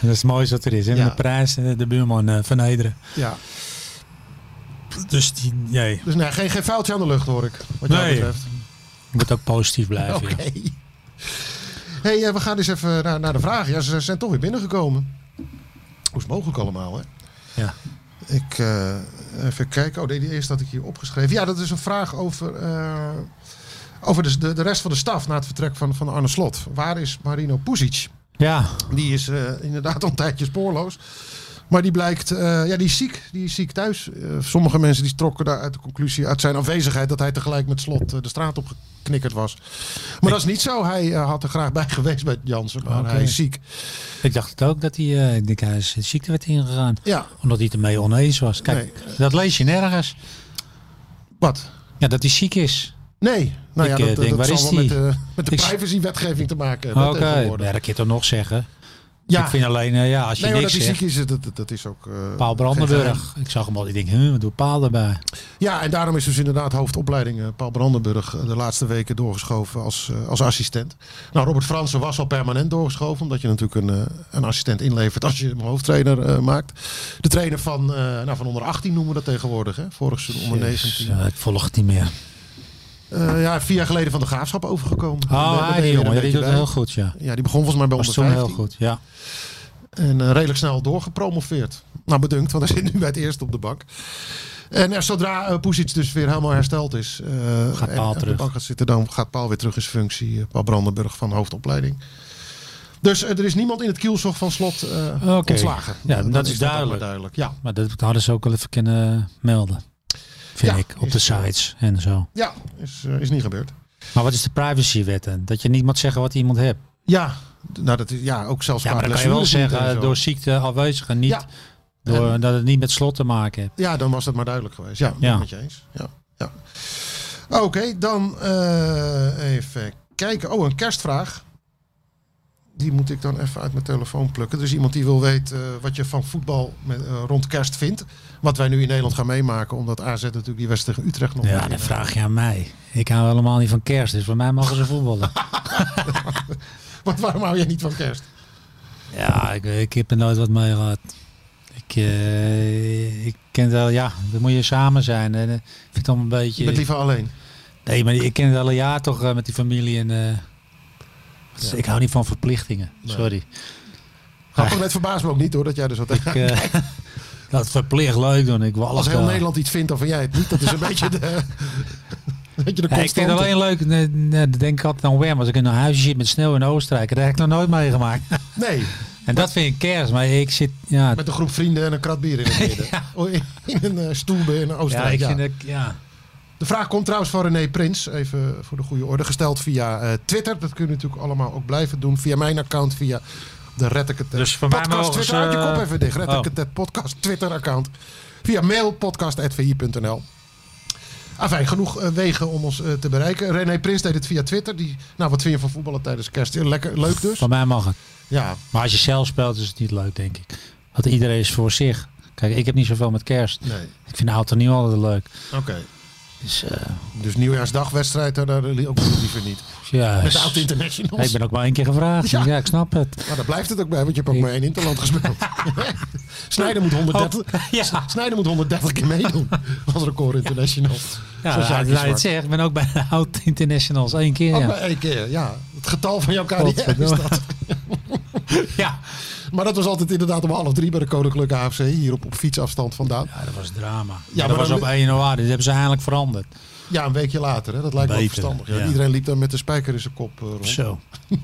Dat is het mooiste wat er is. hè. Ja. De prijs, eh, de buurman eh, vernederen. ja. Dus die, nee, Dus nee, geen, geen vuiltje aan de lucht hoor ik. Wat jou Nee. betreft. je moet ook positief blijven. Oké. joh. hey, eh, we gaan eens even naar, naar de vragen. Ja, ze zijn toch weer binnengekomen. Hoe is het mogelijk allemaal, hè? Ja. Ik, eh, Even kijken. Oh, nee, die eerste had ik hier opgeschreven. Ja, dat is een vraag over, eh, over de, de, de rest van de staf na het vertrek van, van Arne Slot. Waar is Marino Puzic? Ja, Die is eh, inderdaad al een tijdje spoorloos. Maar die blijkt, eh, ja, die is ziek. Die is ziek thuis. Eh, sommige mensen die trokken daar uit de conclusie uit zijn afwezigheid dat hij tegelijk met slot eh, de straat op geknikkerd was. Maar dat is niet zo. Hij eh, had er graag bij geweest bij Jansen, maar Oké. hij is ziek. ik dacht het ook dat hij, eh, ik denk hij is in ziekte werd ingegaan. Ja, Omdat hij het ermee oneens was. Kijk, dat lees je nergens. wat? Ja, dat hij ziek is. Nee. Nou Ik, ja, eh, dat, denk, dat waar zal is wel die? met de, met de Ik- privacywetgeving te maken Oké, hebben tegenwoordig. ja, dat kun je toch nog zeggen. Ja. Ik vind alleen, eh, ja, als je Nee, hoor, dat niks hij zegt. ziek is, dat, dat- dat is ook... eh, Paul geen geheim. Brandenburg. Ik zag hem al. Ik denk, huh, wat doet Paal erbij? Ja, en daarom is dus inderdaad hoofdopleiding eh, Paul Brandenburg eh, de laatste weken doorgeschoven als, eh, als assistent. Nou, Robert Fransen was al permanent doorgeschoven, omdat je natuurlijk een, eh, een assistent inlevert als je hem hoofdtrainer eh, maakt. De trainer van, eh, nou, van onder 18 noemen we dat tegenwoordig, hè? vorig seizoen onder Dus, 19. eh, ik volg het niet meer. Eh, ja, vier jaar geleden van de graafschap overgekomen. Daar- daar Oh, hij ben die je er jongen. een Ja, die doet beetje het bij. heel goed, ja. Ja, die begon volgens mij bij Was onder toen 15. heel goed, ja. En eh, redelijk snel doorgepromoveerd. Nou, bedunkt, want hij zit nu bij het eerst op de bank. En eh, zodra eh Pusic dus weer helemaal hersteld is, eh, en Paal op de terug. bank gaat zitten, dan gaat Paal weer terug in zijn functie. eh, Paul Brandenburg van hoofdopleiding. Dus eh, er is niemand in het kielzog van slot eh, Oké. ontslagen. Ja, Eh, dat dan is ook maar duidelijk. Ja. Maar dat hadden ze ook wel even kunnen eh, melden. Vind Ja, ik, op is- de sites en zo. ja, is, eh, is niet gebeurd. Maar wat is de privacywet dan? Dat je niet mag zeggen wat iemand hebt. Ja, d- nou, dat is, ja ook zelfs Ja, qua maar dan kan je wel blessures niet zeggen en zo. door ziekte afwezig en niet Ja. door, dat het niet met slot te maken heeft. Ja, dan was dat maar duidelijk geweest. Ja, Ja. ja. met je eens. Ja, ja. Oké, dan eh, even kijken. Oh, een kerstvraag. Die moet ik dan even uit mijn telefoon plukken. Dus iemand die wil weten eh, wat je van voetbal met, eh, rond kerst vindt. Wat wij nu in Nederland gaan meemaken. Omdat AZ natuurlijk die wedstrijd tegen Utrecht nog... Ja, niet, dan eh, vraag je aan mij. Ik hou helemaal niet van kerst, dus voor mij mogen ze voetballen. Want waarom hou jij niet van kerst? Ja, ik, ik heb er nooit wat mee gehad. Ik, eh, ik ken wel, ja, dan moet je samen zijn. En, eh, ik vind het allemaal een Je beetje... bent liever alleen. Nee, maar ik ken het al een jaar toch eh, met die familie. En, eh, dus Ik hou niet van verplichtingen, sorry. Grappig, het verbaast me ook niet hoor, dat jij er zo tegen... Ik, eh, dat verplicht leuk doen. Ik walg Als heel daar. Nederland iets vindt, dan van jij het niet. Dat is een beetje de... een beetje de Ja, ik vind constante. het alleen leuk, nee, nee, dat denk ik altijd aan Wem. Als ik in een huisje zit met sneeuw in Oostenrijk, dat heb ik nog nooit meegemaakt. Nee, En dat vind ik kerst, maar ik zit, ja, Met een groep vrienden en een krat bier in het midden. Oh, In een eh, stoel bij in ja Oostenrijk. ik Ja, vind het, ja. De vraag komt trouwens van René Prins. Even voor de goede orde. Gesteld via eh, Twitter. Dat kunnen we natuurlijk allemaal ook blijven doen. Via mijn account. Via de Retteket Dus voor mij podcast. mogen Twitter ze, uit je kop even dicht. eh, Retteket podcast Twitter account. Via mail podcast.vi.nl Enfin, genoeg eh, wegen om ons eh, te bereiken. René Prins deed het via Twitter. Die, nou, wat vind je van voetballen tijdens kerst? Heel Lekker, leuk dus. Van mij mag het. Ja, Maar als je zelf speelt, is het niet leuk, denk ik. Want iedereen is voor zich. Kijk, ik heb niet zoveel met kerst. nee. Ik vind oud en nieuw altijd leuk. Oké. Dus eh, Dus nieuwjaarsdagwedstrijd, eh, daar, daar li- ook liever niet. ja, Met de oud internationals. ik ben ook maar één keer gevraagd. Ja, ik snap het. Maar daar blijft het ook bij, want je hebt ook Ik- maar één Interland gespeeld. Snijder moet 130, ja. Snijder moet 130 keer meedoen als record international. Ja, Zoals Jaakje nou, nou, Zwart. het zegt, ik ben ook bij de oud internationals één keer. Ook ja. maar één keer, ja. Het getal van jouw carrière is Godverdomme. dat. ja. Maar dat was altijd inderdaad om half drie bij de Koninklijke AFC, hier op, op fietsafstand vandaan. Ja, dat was drama. Ja, maar dat was dan- op 1 januari. Dat hebben ze eigenlijk veranderd. Ja, een weekje later, hè. dat lijkt me wel Beter, verstandig. Ja. ja. Iedereen liep dan met de spijker in zijn kop eh, rond. Zo.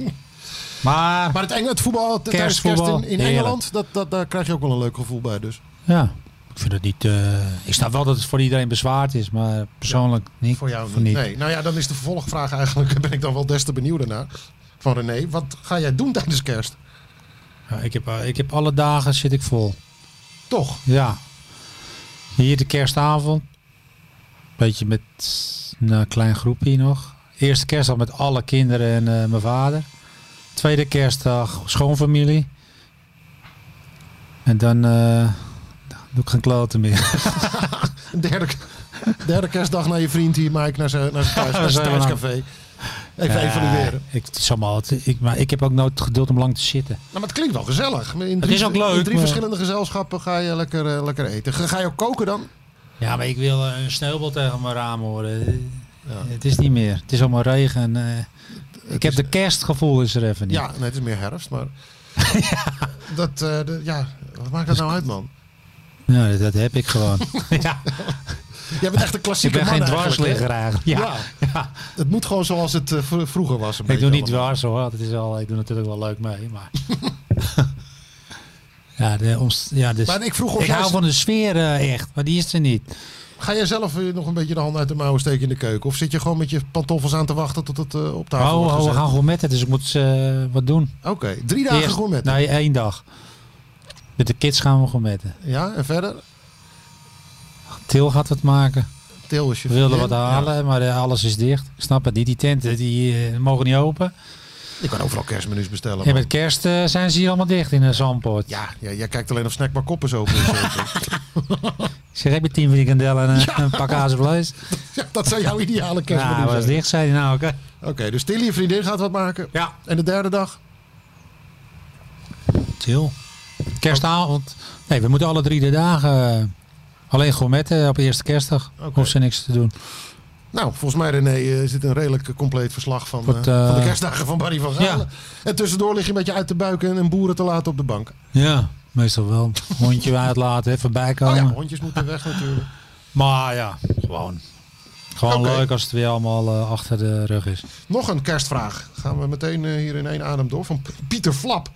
maar, Maar het, Eng- het voetbal t- tijdens kerst Kerstvoetbal, in, in heerlijk. Engeland, dat, dat, daar krijg je ook wel een leuk gevoel bij dus. ja, ik vind het niet... eh, ik snap wel dat het voor iedereen bezwaard is, maar persoonlijk niet. Voor jou voor niet. Nee. Nou ja, dan is de vervolgvraag eigenlijk, ben ik dan wel des te benieuwd naar. Van René, wat ga jij doen tijdens kerst? Ja, ik, heb, eh, ik heb alle dagen zit ik vol. Toch? Ja. Hier de kerstavond. Beetje met nou, een klein groepje nog. Eerste kerstdag met alle kinderen en eh, mijn vader. Tweede kerstdag schoonfamilie. En dan eh, doe ik geen kloten meer. Een derde, derde kerstdag naar je vriend hier, Mike, naar zijn, naar zijn thuis, naar zijn Zo lang. thuiscafé. Even evalueren. Ja, ik, het is allemaal, het- ik, maar ik heb ook nooit het geduld om lang te zitten. Nou, maar het klinkt wel gezellig. In drie, is ook leuk, In drie maar- verschillende gezelschappen ga je lekker, eh, lekker eten. Ga, ga je ook koken dan? Ja, maar ik wil eh, een sneeuwbal tegen mijn raam horen. Eh, Het is niet meer. Het is allemaal regen. en, eh, ik heb de kerstgevoel is er even niet. Ja, nee, het is meer herfst, maar... Dat, eh, de- ja, wat maakt dat nou uit, man? Ja, dat, dat heb ik gewoon. ja, Jij bent echt een ik klassieke ben man geen eigenlijk, hè? dwarsligger eigenlijk. Ja. Ja. Het moet gewoon zoals het eh, vro- vroeger was. Een Ik doe niet allemaal. dwars hoor. Het is al, ik doe natuurlijk wel leuk mee. Maar... ja, de omst- ja, dus... Maar ik vroeg of ik jij- hou van de sfeer eh, echt, maar die is er niet. Ga jij zelf eh, nog een beetje de handen uit de mouwen steken in de keuken? Of zit je gewoon met je pantoffels aan te wachten tot het eh, op tafel Oh, wordt oh, we gezet? gaan gourmetten, dus ik moet eh, wat doen. Oké, drie dagen Eerst- gourmet. Nee, één dag. Met de kids gaan we gourmetten. Ja, en verder? Til gaat wat maken. Til is je We wilden vriendin. wat halen, Ja. maar eh, alles is dicht. Ik snap het niet. Die tenten die, eh, mogen niet open. Je kan overal kerstmenu's bestellen. En man. met kerst eh, zijn ze hier allemaal dicht in een Zandpoort. Ja, ja, jij kijkt alleen of snackbar koppers open is. Ik zeg, heb je tien frikandellen en eh, een pak hazenvlees? Ja, dat zou jouw ideale Nou, kerstmenu was zijn. dicht, zei hij nou. Oké. Oké, dus Tilly, je vriendin, gaat wat maken. Ja. En de derde dag? Chill. Kerstavond. Nee, we moeten alle drie de dagen eh, alleen gourmetten op eerste kerstdag. Oké. Hoeft ze niks te doen. Nou, volgens mij René eh, zit een redelijk eh, compleet verslag van, Wat, eh, eh, van de kerstdagen van Barry van Galen. ja. En tussendoor lig je met je uit te buiken en boeren te laten op de bank. Ja, meestal wel. Hondje uitlaten, hè, voorbij Oh komen. ja, hondjes moeten weg natuurlijk. Maar ja, gewoon. Gewoon Oké. leuk als het weer allemaal eh, achter de rug is. Nog een kerstvraag. Gaan we meteen eh, hier in één adem door. Van P- Pieter Flap.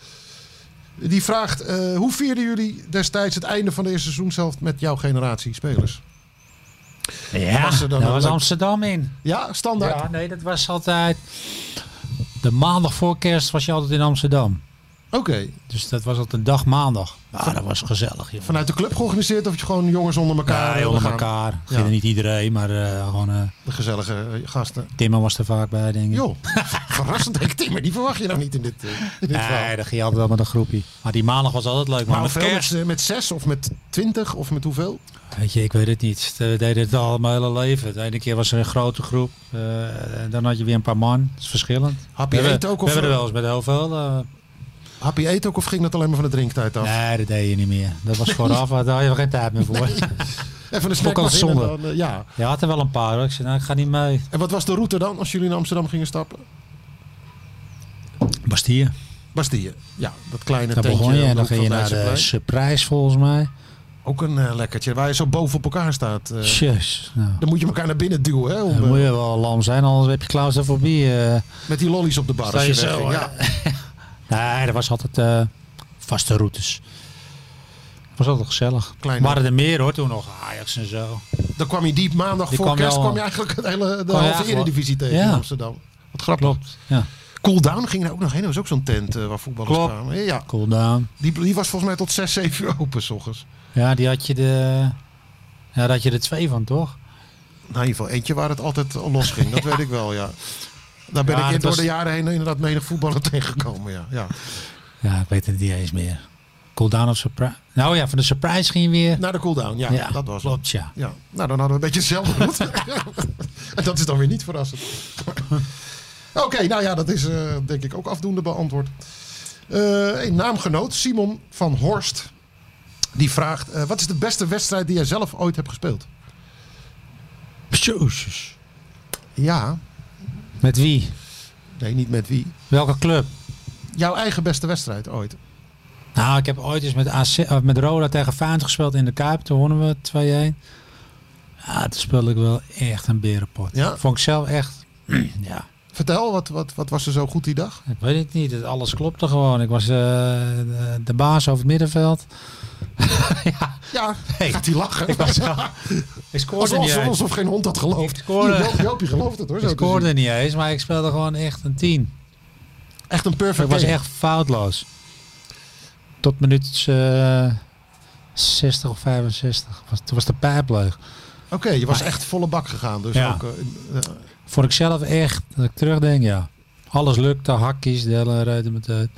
Die vraagt, eh, hoe vierden jullie destijds het einde van de eerste seizoenshelft met jouw generatie spelers? Ja, Was er dan daar een was leuk- Amsterdam in. Ja, standaard. Ja, nee, dat was altijd... De maandag voor kerst was je altijd in Amsterdam. Oké. Dus dat was altijd een dag maandag. Ah, dat was gezellig, joh. Vanuit de club georganiseerd of je gewoon jongens onder elkaar? Ja, eh, onder gaan? elkaar. Ja. Ging er Niet iedereen, maar eh, gewoon... eh De gezellige eh, gasten. Timmer was er vaak bij, denk ik. Joh, verrassend. Ik Timmer, die verwacht je nou niet in dit, eh, in dit verhaal. Nee, dat ging je altijd wel met een groepje. Maar die maandag was altijd leuk, Maar man. Met hoeveel? kerst. Met, eh, met zes of met twintig of met hoeveel? Weet je, ik weet het niet. We deden het al mijn hele leven. De ene keer was er een grote groep. eh, en dan had je weer een paar man. Dat is verschillend. Happy we Eight hebben, ook, we of- hebben er wel eens met heel veel. eh, Happy eet ook of ging dat alleen maar van de drinktijd af? nee, dat deed je niet meer. Dat was vooraf. Daar had je geen tijd meer voor. Even een ook snack al zonde. En, dan, eh, ja. Je had er wel een paar. hoor. Ik zei, nou, ik ga niet mee. en wat was de route dan als jullie in Amsterdam gingen stappen? Bastille. Bastille. Ja, dat kleine Daar tentje. begon je. aan de En dan hoek ging je van naar de Leidseplein. surprise, volgens mij. Ook een eh, lekkertje waar je zo boven op elkaar staat. eh. Tjus. Nou, dan moet je elkaar naar binnen duwen hè, om, dan eh, moet je wel lam zijn, anders heb je claustrofobie. eh met die lollies op de bar. Sta als je je zo, wegging. hè? ja. Nee, er was altijd eh, vaste routes. Het was altijd gezellig. Klein, waren er meer hoor, toen nog Ajax en zo. Dan kwam je die maandag Die voor kwam je kerst al- kwam je eigenlijk het hele, de je halve eigenlijk wel- eredivisie tegen Ja. in Amsterdam. Wat grappig. Klopt. Ja. Cool Down ging er ook nog heen. Dat was ook zo'n tent eh, waar voetballers Klopt. kwamen. Ja, Cool down. die, die was volgens mij tot 6, 7 uur open s ochtends. Ja, die had je de. Ja, daar had je er twee van, toch? Nou, in ieder geval eentje waar het altijd al los ging. Dat weet ik wel, ja. Daar ben Ja, ik in- dat door was- de jaren heen inderdaad menig voetballer tegengekomen, ja. ja. Ja, ik weet het niet eens meer. Cool down of surprise. Nou ja, van de surprise ging je weer. Naar de cooldown, ja, dat was het. Klopt, ja. Ja, nou dan hadden we een beetje hetzelfde route. en dat is dan weer niet verrassend. Oké, nou ja, dat is eh, denk ik ook afdoende beantwoord. Eh een naamgenoot, Simon van Horst, die vraagt... eh, wat is de beste wedstrijd die jij zelf ooit hebt gespeeld? Jezus. Ja, Met wie? nee, niet met wie. Welke club? Jouw eigen beste wedstrijd ooit. Nou, ik heb ooit eens met, AC, of met Roda tegen Feyenoord gespeeld in de Kuip. Toen wonnen we 2-1. Ja, toen speelde ik wel echt een berenpot. Ja? Vond ik zelf echt... ja, Vertel, wat, wat, wat was er zo goed die dag? ik weet het niet. Het- Alles klopte gewoon. Ik was eh, de- de baas over het middenveld. ja, Ja, Hey. gaat hij lachen? ik was wel... Ik scoorde alsof, niet alsof, eens. alsof geen hond dat gelooft. Ik scoorde- Joop- Joopje gelooft het hoor. Ik zo te zien. scoorde niet eens, maar ik speelde gewoon echt een 10. Echt een Ik perfect was game. echt foutloos. Tot minuut eh, 60 of 65. Was, toen was de pijp leeg. Oké, je was echt volle bak gegaan. Dus Ja. ook, eh, eh, Vond ik zelf echt, dat ik terugdenk, ja. Alles lukte, hakjes, dellen, rijden met de...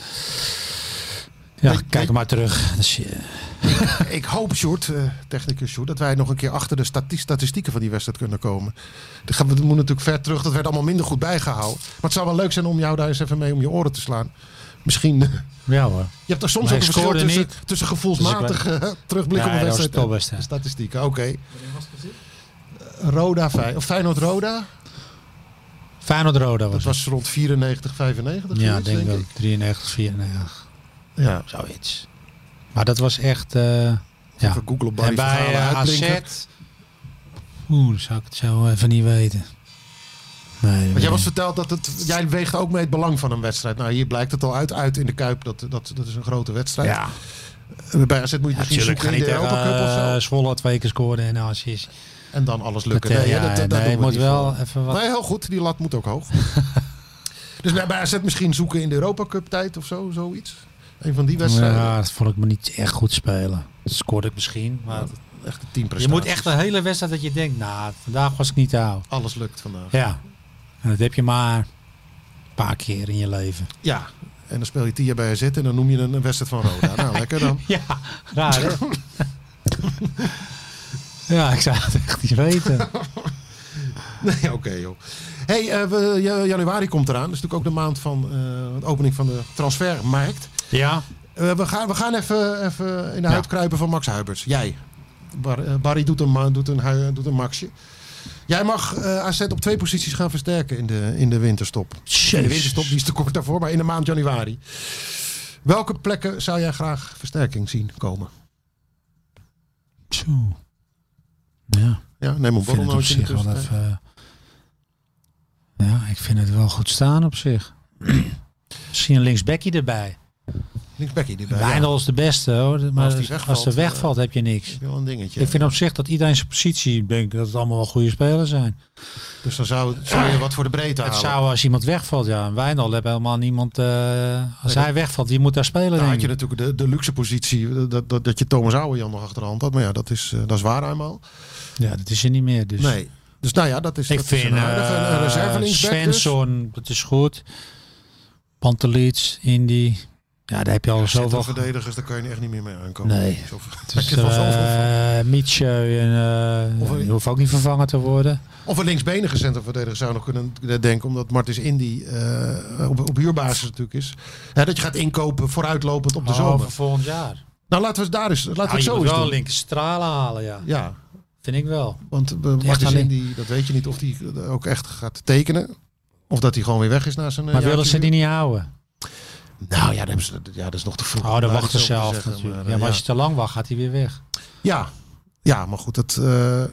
Ja, Weet- kijk weet- maar terug. Dat is, eh, ik hoop, Sjoerd, eh, technicus Sjoerd, dat wij nog een keer achter de stati- statistieken van die wedstrijd kunnen komen. Dat gaan we dat moet natuurlijk ver terug. Dat werd allemaal minder goed bijgehouden. Maar het zou wel leuk zijn om jou daar eens even mee om je oren te slaan. Misschien. eh, ja hoor. Je hebt er soms Maar ook een ik verschil scoorde tussen, niet. tussen gevoelsmatig eh, terugblik Ja, op een dat was wedstrijd. topwedstrijd. Statistieken, oké. Eh, Roda, Fey- of Feyenoord Roda. Feyenoord Roda was Dat het. was rond 94, 95. Ja, zoiets, denk ik ook. 93, 94, Ja. zoiets. Maar dat was echt... eh, Ja. Even googlen op Barry En bij Vergalen eh, uitblinken. AZ... Oeh, zou ik het zo even niet weten. Nee, Want jij nee. was verteld dat het, jij weegt ook mee het belang van een wedstrijd. Nou, hier blijkt het al uit, uit in de Kuip. Dat, dat, dat is een grote wedstrijd. Ja, Bij AZ moet je het natuurlijk. misschien Ga zoeken in niet de Europa Cup of tegen zo. eh, Zwolle twee keer scoren en nou, assist. En dan alles lukken. Meteen, nee, eh, ja, dat, dat, nee, doen we moet niet wel voor. even wat- Nee, heel goed. Die lat moet ook hoog. dus nou, bij AZ misschien zoeken in de Europa Cup tijd of zo. Zoiets. Een van die wedstrijden. Ja, dat vond ik me niet echt goed spelen. Dat scoorde ik misschien. Maar Echt een je teamprestatie. moet echt een hele wedstrijd dat je denkt, nou, vandaag was ik niet te houden. Alles lukt vandaag. Ja. En dat heb je maar een paar keer in je leven. Ja. En dan speel je tien jaar bij AZ en dan noem je een een wedstrijd van Roda. nou, lekker dan. Ja, raar hè? ja, ik zou het echt niet weten. Nee, oké joh. Hey, eh, we- ja, januari komt eraan. Dat is natuurlijk ook de maand van eh, de opening van de transfermarkt. Ja. Eh, we, gaan, we gaan even, even in de huid kruipen van Max Huibers. Jij. Bar- eh, Barry doet een, ma- doet, een, hui- doet een maxje. Jij mag eh, AZ op twee posities gaan versterken in de, in de winterstop. In de winterstop, die is te kort daarvoor, maar in de maand januari. Welke plekken zou jij graag versterking zien komen? Tjoe. Ja, Ja, ik vind neem een het op borrelnootje in de zich wel tussentijd. even... eh, ja, ik vind het wel goed staan op zich. Misschien een linksbekkie erbij. Linksbekkie die bij. Ja, Wijndal is de beste hoor. Maar Als als, die wegvalt, eh, als er wegvalt heb je niks. wel een dingetje. Ik vind op zich dat iedereen zijn positie, ik denk dat het allemaal wel goede spelers zijn. Dus dan zou, zou je wat voor de breedte Het halen. zou als iemand wegvalt, ja. En Wijndal heeft helemaal niemand. eh, als Nee, hij wegvalt, die moet daar spelen. Dan denk had je ik. natuurlijk de, de luxe positie eh, dat, dat, dat je Thomas Ouwejan nog achter de hand had. Maar ja, dat is, eh, dat is waar eenmaal. Ja, dat is er niet meer. Dus. Nee. Dus nou ja, dat is, Ik dat is vind een aardige een- een eh reservelingsback dus. Svensson, dat is goed. Pantelits, Indy. Ja, daar heb je al Zoveel zoveel. verdedigers, daar kan je echt niet meer mee aankomen. Nee. Zoveel- Dus, Heb je wel zoveel- eh Mietje en eh Of een- die hoeft ook niet vervangen te worden. Of een linksbenige centrumverdediger zou nog kunnen denken, omdat Martens Indy eh, op, op huurbasis natuurlijk is. Hè, dat je gaat inkopen vooruitlopend op de zomer. Over volgend jaar. Nou, laten we het daar eens, laten we Nou, het Oh. je zo moet eens wel doen. linker stralen halen, ja. Ja, Vind ik wel. want eh, Martens alleen- Indy, dat weet je niet of hij ook echt gaat tekenen. Of dat hij gewoon weer weg is na zijn eh, Maar willen jaartje ze huur. die niet houden? Nou ja, dat, hebben ze- ja, dat is nog te vroeg. Oh, dan Laat ik wacht ze het zo maar zelf zeggen, natuurlijk. maar, ja, eh, maar als je te lang wacht, gaat hij weer weg. ja. ja, maar goed, dat, eh, Ah,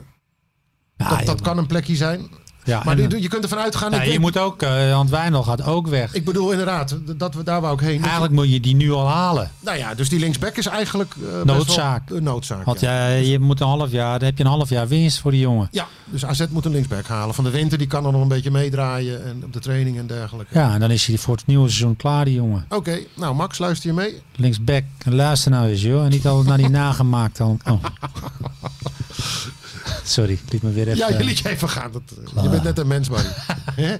Ja, Ah, dat, dat kan een plekje zijn. Ja, Maar en- nu- je kunt ervan uitgaan. Ja, ik, je weet- moet ook, eh Ant Wijnal gaat ook weg. ik bedoel inderdaad, dat we daar wou ik heen. Eigenlijk moet je die nu al halen. Nou ja, dus die linksback is eigenlijk eh, best Noodzaak. wel een noodzaak. Want ja. ja, je moet een half jaar, dan heb je een half jaar winst voor die jongen. Ja, dus AZ moet een linksback halen. Van de winter die kan er nog een beetje meedraaien en op de training en dergelijke. Ja, en dan is hij voor het nieuwe seizoen klaar, die jongen. Oké, nou Max, luister je mee? Linksback, luister nou eens, joh. En niet al naar die nagemaakt. Dan. Oh. Sorry, ik liet me weer even... Ja, je eh, Ah. liet je even gaan. Dat, eh, je bent net een mens, Barry. Hè?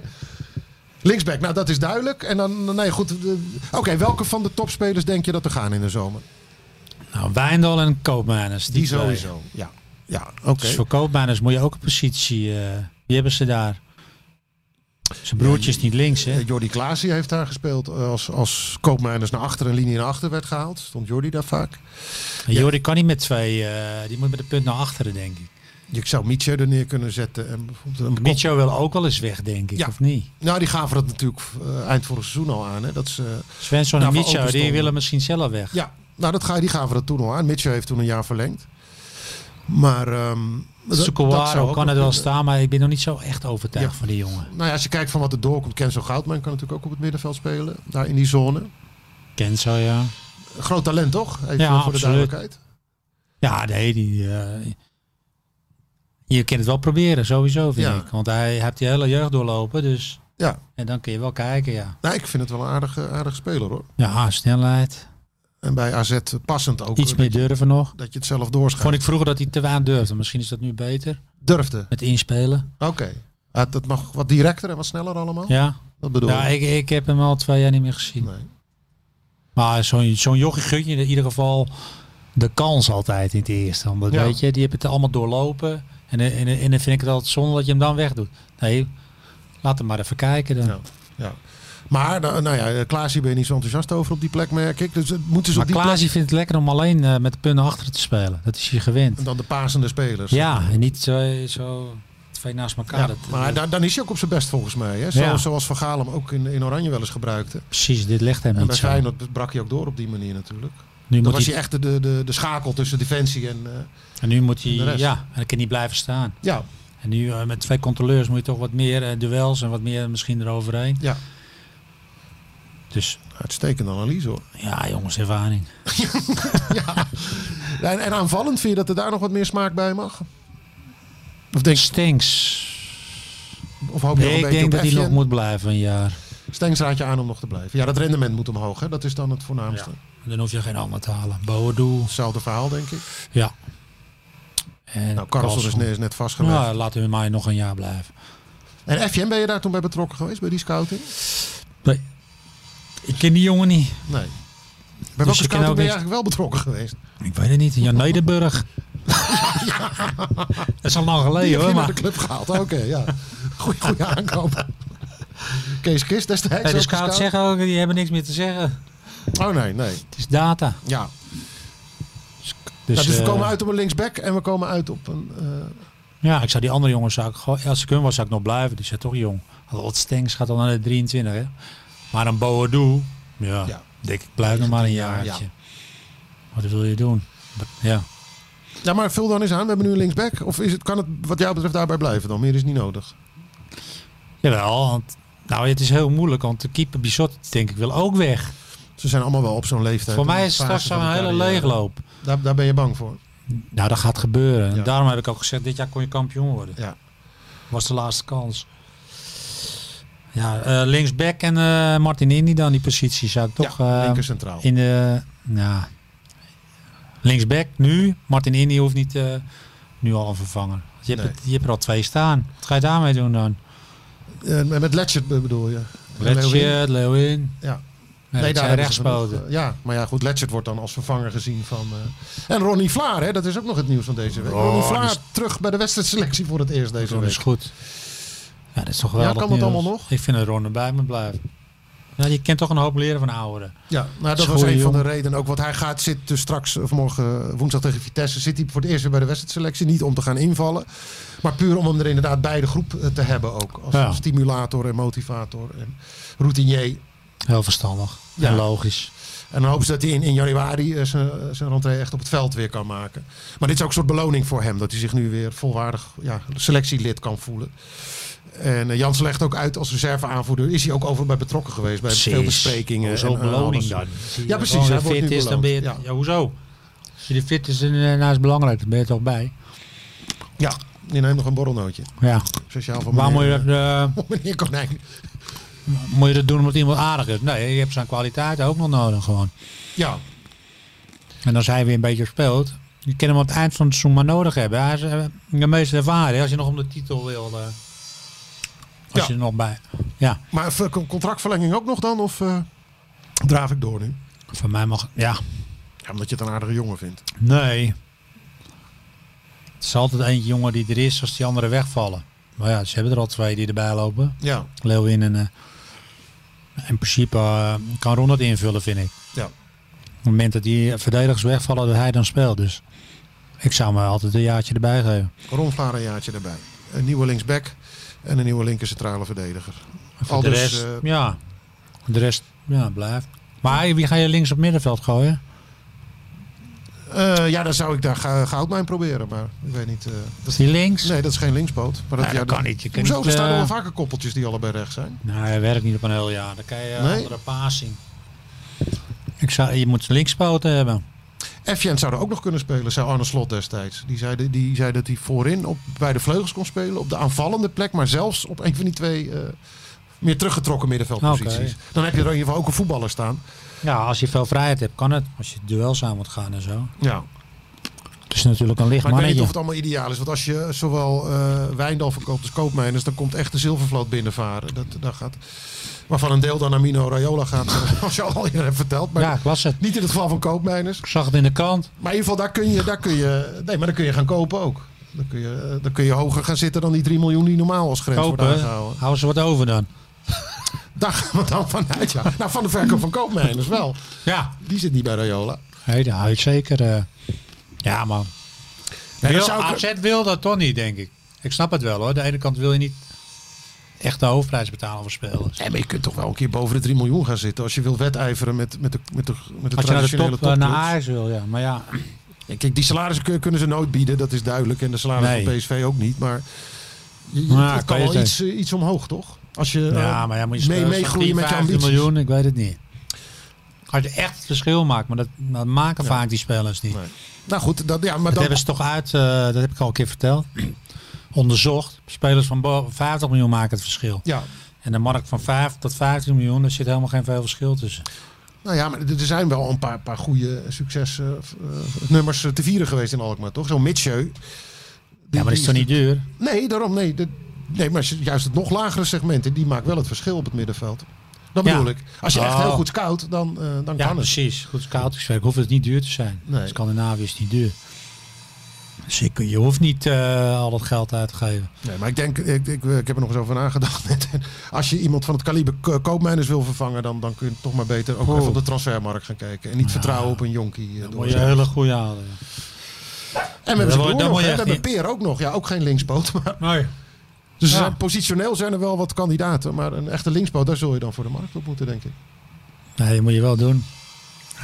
linksback, nou dat is duidelijk. En dan, nee goed. de- Oké, welke van de topspelers denk je dat er gaan in de zomer? Nou, Wijndal en Koopmeiners. Die, Die twee. sowieso, ja. Ja, oké. Dus voor Koopmeiners moet je ook een positie... eh wie hebben ze daar? Zijn broertje is niet links, hè? Eh, Jordi Klaasie heeft daar gespeeld eh, als, als koopmijners naar achter een linie naar achter werd gehaald. Stond Jordi daar vaak. Maar Jordi kan niet met twee. eh, die moet met een punt naar achteren, denk ik. Ik zou Mietje er neer kunnen zetten. En bijvoorbeeld een kop- Micho wil ook wel eens weg, denk ik, Ja. of niet? Nou, die gaven dat natuurlijk eh, eind vorig seizoen al aan. Hè? Dat ze, Svensson en Nou, voor Micho, die openstonden. willen misschien zelf weg. ja, nou, dat ga, die gaven dat toen al aan. Mietje heeft toen een jaar verlengd. Maar ehm dat- dat zou Sukowaro ook kan nog het wel kunnen. staan, maar ik ben nog niet zo echt overtuigd Ja. van die jongen. Nou ja, als je kijkt van wat er doorkomt. Kenzo Goudman kan natuurlijk ook op het middenveld spelen. Daar in die zone. Kenzo, ja. Groot talent toch? Ja, Even voor de absoluut. duidelijkheid. Ja, nee, die... eh, je kunt het wel proberen, sowieso, vind Ja. ik. Want hij heeft die hele jeugd doorlopen, dus... Ja, En dan kun je wel kijken, ja. nou, ik vind het wel een aardige, aardige speler hoor. Ja, snelheid. En bij AZ passend ook. Iets eh, meer durven nog. Dat je het zelf doorschuift. Vond ik vroeger dat hij te weinig durfde. Misschien is dat nu beter. Durfde. Met inspelen. Oké. Ah, dat mag wat directer en wat sneller allemaal. Ja. Dat bedoel Ja, ik. ik, ik heb hem al twee jaar niet meer gezien. Oh. Nee. Maar zo'n zo'n jochie gun je in ieder geval de kans altijd in het eerste. Want Ja. weet je, die hebben het allemaal doorlopen. En, en, en, dan vind ik het altijd zonde dat je hem dan wegdoet. Nee, laat hem maar even kijken dan. Ja. Ja. Maar nou, nou ja, Klaasie ben je niet zo enthousiast over op die plek, merk ik. Dus het moeten ze maar op die plek... Klaasie vindt het lekker om alleen eh, met de punten achter te spelen. Dat is je gewend. En dan de pasende spelers. Ja, en niet twee, zo twee naast elkaar. Ja, dat, eh, maar dan, dan is hij ook op zijn best volgens mij. Hè? Zo, Ja. Zoals Van Gaal hem ook in, in Oranje wel eens gebruikte. precies, dit legt hem En niet bij zo. Feyenoord brak hij ook door op die manier natuurlijk. Nu Dan moet was hij, hij echt de, de, de schakel tussen defensie en... eh, en nu moet hij, de rest. ja, en dan kan hij blijven staan. ja, En nu eh, met twee controleurs moet je toch wat meer eh, duels en wat meer misschien eroverheen. ja. Dus Uitstekende analyse hoor. ja, jongens, ervaring. En, en aanvallend vind je dat er daar nog wat meer smaak bij mag? Of, denk, Stinks. of hoop je nog Nee, ik een beetje denk op dat hij Effjen? nog moet blijven een jaar. Stengs raad je aan om nog te blijven. Ja, dat rendement moet omhoog. Hè? Dat is dan het voornaamste. Dan hoef je geen ander te halen. Boerdoel. Hetzelfde verhaal, denk ik. Ja. En Nou, Karlsson is Karlsson. net, is net vastgelegd. Ja, laten we mij nog een jaar blijven. En FJM, ben je daar toen bij betrokken geweest, bij die scouting? Nee. Ik ken die jongen niet. Nee. Bij welke Dus je kan scouting ook ben je niks- eigenlijk wel betrokken geweest? Ik weet het niet. Jan Nederburg. Dat is al lang Die geleden heb hoor. je naar Maar de club gehaald. Oké, ja. Goeie, goeie aankoop. Kees Kist destijds. Nee, de ook scouts gescout. zeggen ook, die hebben niks meer te zeggen. Oh nee, nee. Het is data. Ja. Dus, Ja, dus we eh, komen uit op een linksback en we komen uit op een... eh, Ja, ik zou die andere jongens, zou ik, gewoon- als ik hun was, zou ik nog blijven. Die zijn toch jong. Wat Stengs gaat al naar de 23, hè. Maar een Boadu, ja, Ja. denk ik blijf nog maar een jaar, jaartje. Wat wil je doen? Ja, Ja, maar vul dan eens aan. We hebben nu een linksback. Of is het, kan het wat jou betreft daarbij blijven dan? Meer is niet nodig. jawel. Want, nou, het is heel moeilijk, want de keeper Bissot, denk ik, wil ook weg. Ze zijn allemaal wel op zo'n leeftijd. Voor en mij is fase het straks van een hun hele carrière. leegloop. Daar, daar ben je bang voor. Nou, dat gaat gebeuren. En Ja. daarom heb ik ook gezegd, dit jaar kon je kampioen worden. Ja. Was de laatste kans. Ja, eh, linksback en eh Martin Indy dan, die positie zou ik toch... ja, eh, linker centraal. In de. Ja. Linksback nu. Martin Indy hoeft niet. eh, nu al een vervanger. Je hebt, Nee. het- je hebt er al twee staan. Wat ga je daarmee doen dan? Eh, met Letchert be- bedoel je? Leeuwin? Letchert, Leeuwin. Ja. Nee, dat zijn hebben ze rechtspoten. genoeg, eh, Ja, maar ja, goed. Letchert wordt dan als vervanger gezien van... eh, En Ronnie Vlaar, hè, dat is ook nog het nieuws van deze week. Ronnie Vlaar terug bij de wedstrijdselectie voor het eerst deze Dat week. is goed. Ja, dat is toch wel. Ja, kan dat nieuws. allemaal nog? Ik vind dat Ron bij me blijven. Ja, je kent toch een hoop leren van ouderen. Ja, nou, dat Schoen, was een van de jongen. redenen ook. Want hij gaat, zit dus straks, of morgen eh, woensdag tegen Vitesse, zit hij voor het eerst weer bij de wedstrijdselectie. Niet om te gaan invallen, maar puur om hem er inderdaad bij de groep eh, te hebben ook. Als Ja. stimulator en motivator en routinier. Heel verstandig. Ja. En logisch. En dan hopen ze dat hij in, in januari eh, zijn zijn rentree echt op het veld weer kan maken. Maar dit is ook een soort beloning voor hem. Dat hij zich nu weer volwaardig ja, selectielid kan voelen. En eh, Jansen legt ook uit als reserveaanvoerder. Is hij ook overal bij betrokken geweest. Bij veel besprekingen. Hoezo en, eh, beloning alles. dan? Als je Ja, precies, gewoon hij weer wordt fit nu is, dan ben je... beloond, Ja. ja. hoezo? Als je de fit is, dan eh, nou is het belangrijk. Dan ben je toch bij. Ja, je neemt nog een borrelnootje. Ja. Speciaal voor Waar moet je meneer, dat... eh, eh, meneer Konijn. Moet je dat doen omdat iemand aardig is? Nee, je hebt zijn kwaliteit ook nog nodig gewoon. Ja, En als hij weer een beetje speelt, je kan hem aan het eind van het seizoen maar nodig hebben. Hij is eh, de meest ervaren. Als je nog om de titel wil, eh, als Ja. je er nog bij. Ja, maar ver- contractverlenging ook nog dan? Of eh, draaf ik door nu? van mij mag. Ja, Ja, omdat je het een aardige jongen vindt. nee. Het is altijd eentje jongen die er is als die anderen wegvallen. Maar ja, ze hebben er al twee die erbij lopen. Ja, Leeuwin en. eh, in principe eh, kan Ron dat invullen, vind ik. ja. Op het moment dat die verdedigers wegvallen, dat hij dan speelt. Dus ik zou me altijd een jaartje erbij geven. Ron Vlaar een jaartje erbij. Een nieuwe linksback en een nieuwe linker centrale verdediger. En Voor Al de dus, rest, eh, ja. De rest, ja, blijft. Maar wie ga je links op middenveld gooien? Eh, ja, dan zou ik daar ga, Goudmijn proberen, maar ik weet niet. eh, dat, Is die links? nee, dat is geen linkspoot. Maar Nee, dat kan niet. Je kan hoezo? niet, er staan eh, nog wel vaker koppeltjes die allebei rechts zijn. Nee, hij werkt niet op een heel jaar. Dan kan je eh, Nee? andere paas zien. Ik zou, je moet linkspoten hebben. Effjent zou er ook nog kunnen spelen, zei Arne Slot destijds. Die zei, die zei dat hij voorin op, bij de vleugels kon spelen, op de aanvallende plek, maar zelfs op een van die twee eh, meer teruggetrokken middenveldposities. Oké. Dan heb je er in ieder geval ook een voetballer staan. Ja, als je veel vrijheid hebt, kan het. Als je duels aan moet gaan en zo. Ja. Het is natuurlijk een licht Maar ik weet niet mannetje. of het allemaal ideaal is. Want als je zowel eh Wijndal verkoopt als koopmijners, dan komt echt de zilvervloot binnenvaren. Dat, dat gaat, waarvan een deel dan naar Mino Raiola gaat, als je al eerder hebt verteld. Maar Ja, ik las het. niet in het geval van koopmijners. Ik zag het in de kant. Maar in ieder geval, daar kun je, daar kun je, nee, maar daar kun je gaan kopen ook. Dan kun, je, eh, dan kun je hoger gaan zitten dan die 3 miljoen die normaal als grens wordt Kopen. aangehouden. Houden ze wat over dan? Daar gaan we dan vanuit, ja. Nou, van de verkoop van koopmijners wel. Ja. Die zit niet bij Raiola. Nee, daar hou ik zeker. eh, ja, man. Nee, Wil, dat zou ik- AZ wil dat toch niet, denk ik. Ik snap het wel hoor. De ene kant wil je niet echt de hoofdprijs betalen voor spelers. Nee, maar je kunt toch wel een keer boven de 3 miljoen gaan zitten. Als je wil wedijveren met, met de, met de, met de Als je naar de traditionele top eh, naar topclubs. Ajax wil, ja. Maar ja, Ja, Kijk, die salarissen kun- kunnen ze nooit bieden, dat is duidelijk. En de salarissen Nee. van PSV ook niet. Maar je, je- Maar het kan kan je wel het iets, eh, iets omhoog, toch? Als je ja, eh, maar ja, moet je mee, spelers van meegroeien 10, met je 15 ambities. miljoen, ik weet het niet. Als je echt het verschil maakt, maar dat, dat maken vaak die spelers niet. Nou goed, dat, ja, maar Dat dan, hebben ze toch uit, eh, dat heb ik al een keer verteld, onderzocht. Spelers van bo- 50 miljoen maken het verschil. ja, En de markt van 5 tot 15 miljoen, daar zit helemaal geen veel verschil tussen. nou ja, maar er er zijn wel een paar, paar goede eh, succesnummers eh, te vieren geweest in Alkmaar, toch? Zo'n Mitchell. Ja, maar dat is toch niet duur? Nee, daarom nee. De- nee, maar juist het nog lagere segment, die maakt wel het verschil op het middenveld. Dat Ja. bedoel ik. Als je echt Oh. heel goed scout, dan, eh, dan Ja, dus- kan het. precies. Goed scoutingswerk hoeft het niet duur te zijn. Nee. Scandinavië is niet duur. Dus je, kun- je hoeft niet eh, al dat geld uit te geven. Nee, maar ik denk, ik, ik, ik heb er nog eens over nagedacht. net. Als je iemand van het kaliber Ko- koopmijners wil vervangen, dan, dan kun je toch maar beter ook Oh. even op de transfermarkt gaan kijken. En niet vertrouwen op een jonkie. eh, door- Moet je hele goede halen. En we hebben Dan ze word- Broer dan nog, word je hè. we echt hebben Peer ook nog. Ja, ook geen linkspoot. Maar, Nee. dus er Ja. zijn, positioneel zijn er wel wat kandidaten. Maar een echte linkspoot, daar zul je dan voor de markt op moeten, denk ik. Nee, dat moet je wel doen.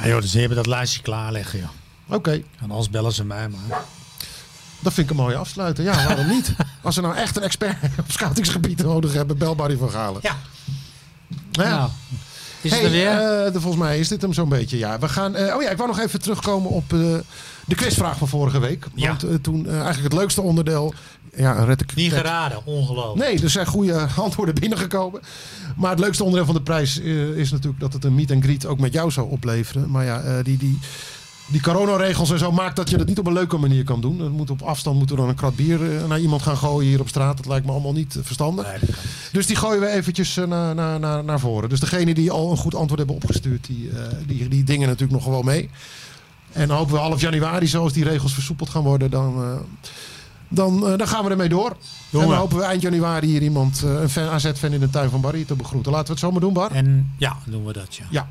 Ja, joh, dus die hebben dat lijstje klaar liggen, joh. Oké, En anders bellen ze mij, maar... dat vind ik een mooie afsluiter. Ja, waarom niet? Als ze nou echt een expert op scoutingsgebied nodig hebben, bel Barry van Galen. Ja. Nou ja. Nou, is Hey, het er weer? eh, de- volgens mij is dit hem zo'n beetje. Ja, we gaan. eh, oh ja, ik wou nog even terugkomen op eh, de quizvraag van vorige week. Ja. Want eh, toen eh, eigenlijk het leukste onderdeel. Ja, een red ik. niet geraden, ongelooflijk. Nee, er zijn goede antwoorden binnengekomen. Maar het leukste onderdeel van de prijs eh, is natuurlijk dat het een meet and greet ook met jou zou opleveren. Maar ja, eh, die, die, die coronaregels en zo maakt dat je dat niet op een leuke manier kan doen. Dat moet op afstand moeten we dan een krat bier eh, naar iemand gaan gooien hier op straat. Dat lijkt me allemaal niet eh, verstandig. Nee, dat kan Dus die gooien we eventjes eh, naar, naar, naar, naar voren. Dus degene die al een goed antwoord hebben opgestuurd, die, eh, die, die dingen natuurlijk nog gewoon mee. En dan hopen we half januari, zoals die regels versoepeld gaan worden, dan, eh, dan, eh, dan gaan we ermee door. Jongen. En dan hopen we eind januari hier iemand, eh, een fan, AZ-fan in de tuin van Barry te begroeten. Laten we het zomaar doen, Bar. En ja, doen we dat, ja. Ja.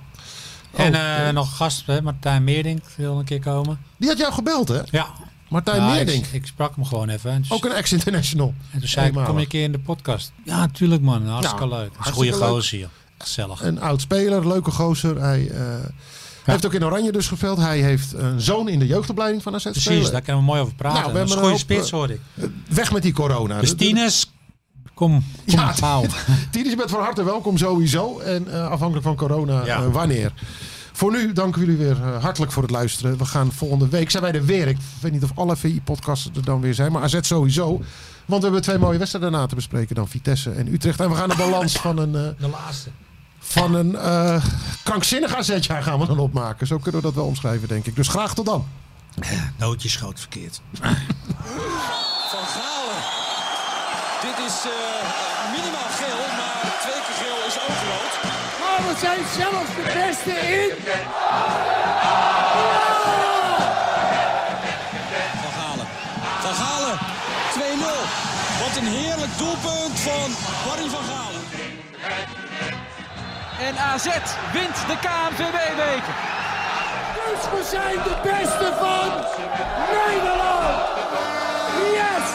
en Oh, eh, nog een gast, hè, Martijn Meerdink wil een keer komen. Die had jou gebeld, hè? Ja. Martijn Ja, Meerdink. Ik, ik sprak hem gewoon even. En toen, Ook een ex-international. en toen zei ik, kom je een Eenmalig. keer in de podcast? Ja, tuurlijk man. Hartstikke Nou, leuk. Dat is een goede hartstikke leuk. Eh, gozer hier. Gezellig. Een oud speler, leuke gozer. Hij eh, heeft ook in Oranje dus gespeeld. Hij heeft een zoon in de jeugdopleiding van AZ Precies, spelen. daar kunnen we mooi over praten. Nou, we dat is een hebben goede een hoop, eh, spits, hoor ik. Weg met die corona. Dus Tines, kom. kom Ja, ja, paal. Tien is met van harte welkom sowieso. En eh, afhankelijk van corona Ja. eh, wanneer. Voor nu danken we jullie weer eh, hartelijk voor het luisteren. We gaan volgende week, zijn wij er weer. Ik weet niet of alle VI-podcasts er dan weer zijn. Maar AZ sowieso. Want we hebben twee mooie wedstrijden daarna te bespreken. Dan Vitesse en Utrecht. En we gaan de balans van een, eh, De laatste. van een eh, krankzinnig AZ-jaar gaan we dan opmaken. Zo kunnen we dat wel omschrijven, denk ik. Dus graag tot dan. Nootje schoot verkeerd. Van Galen. Dit is eh, minimaal geel, maar twee keer geel is ook rood. Maar we zijn zelfs de beste in. Ah! Van Galen. Van Galen. 2-0. Wat een heerlijk doelpunt van Barry van Galen. En AZ wint de KNVB-beker. Dus we zijn de beste van Nederland. Yes!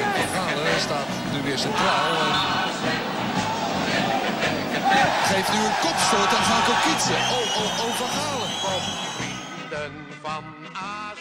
Yes! Galen staat nu weer centraal. en Geeft nu een kopstoot aan Gago Kietse. Oh, oh, oh, Van Galen. vrienden van AZ.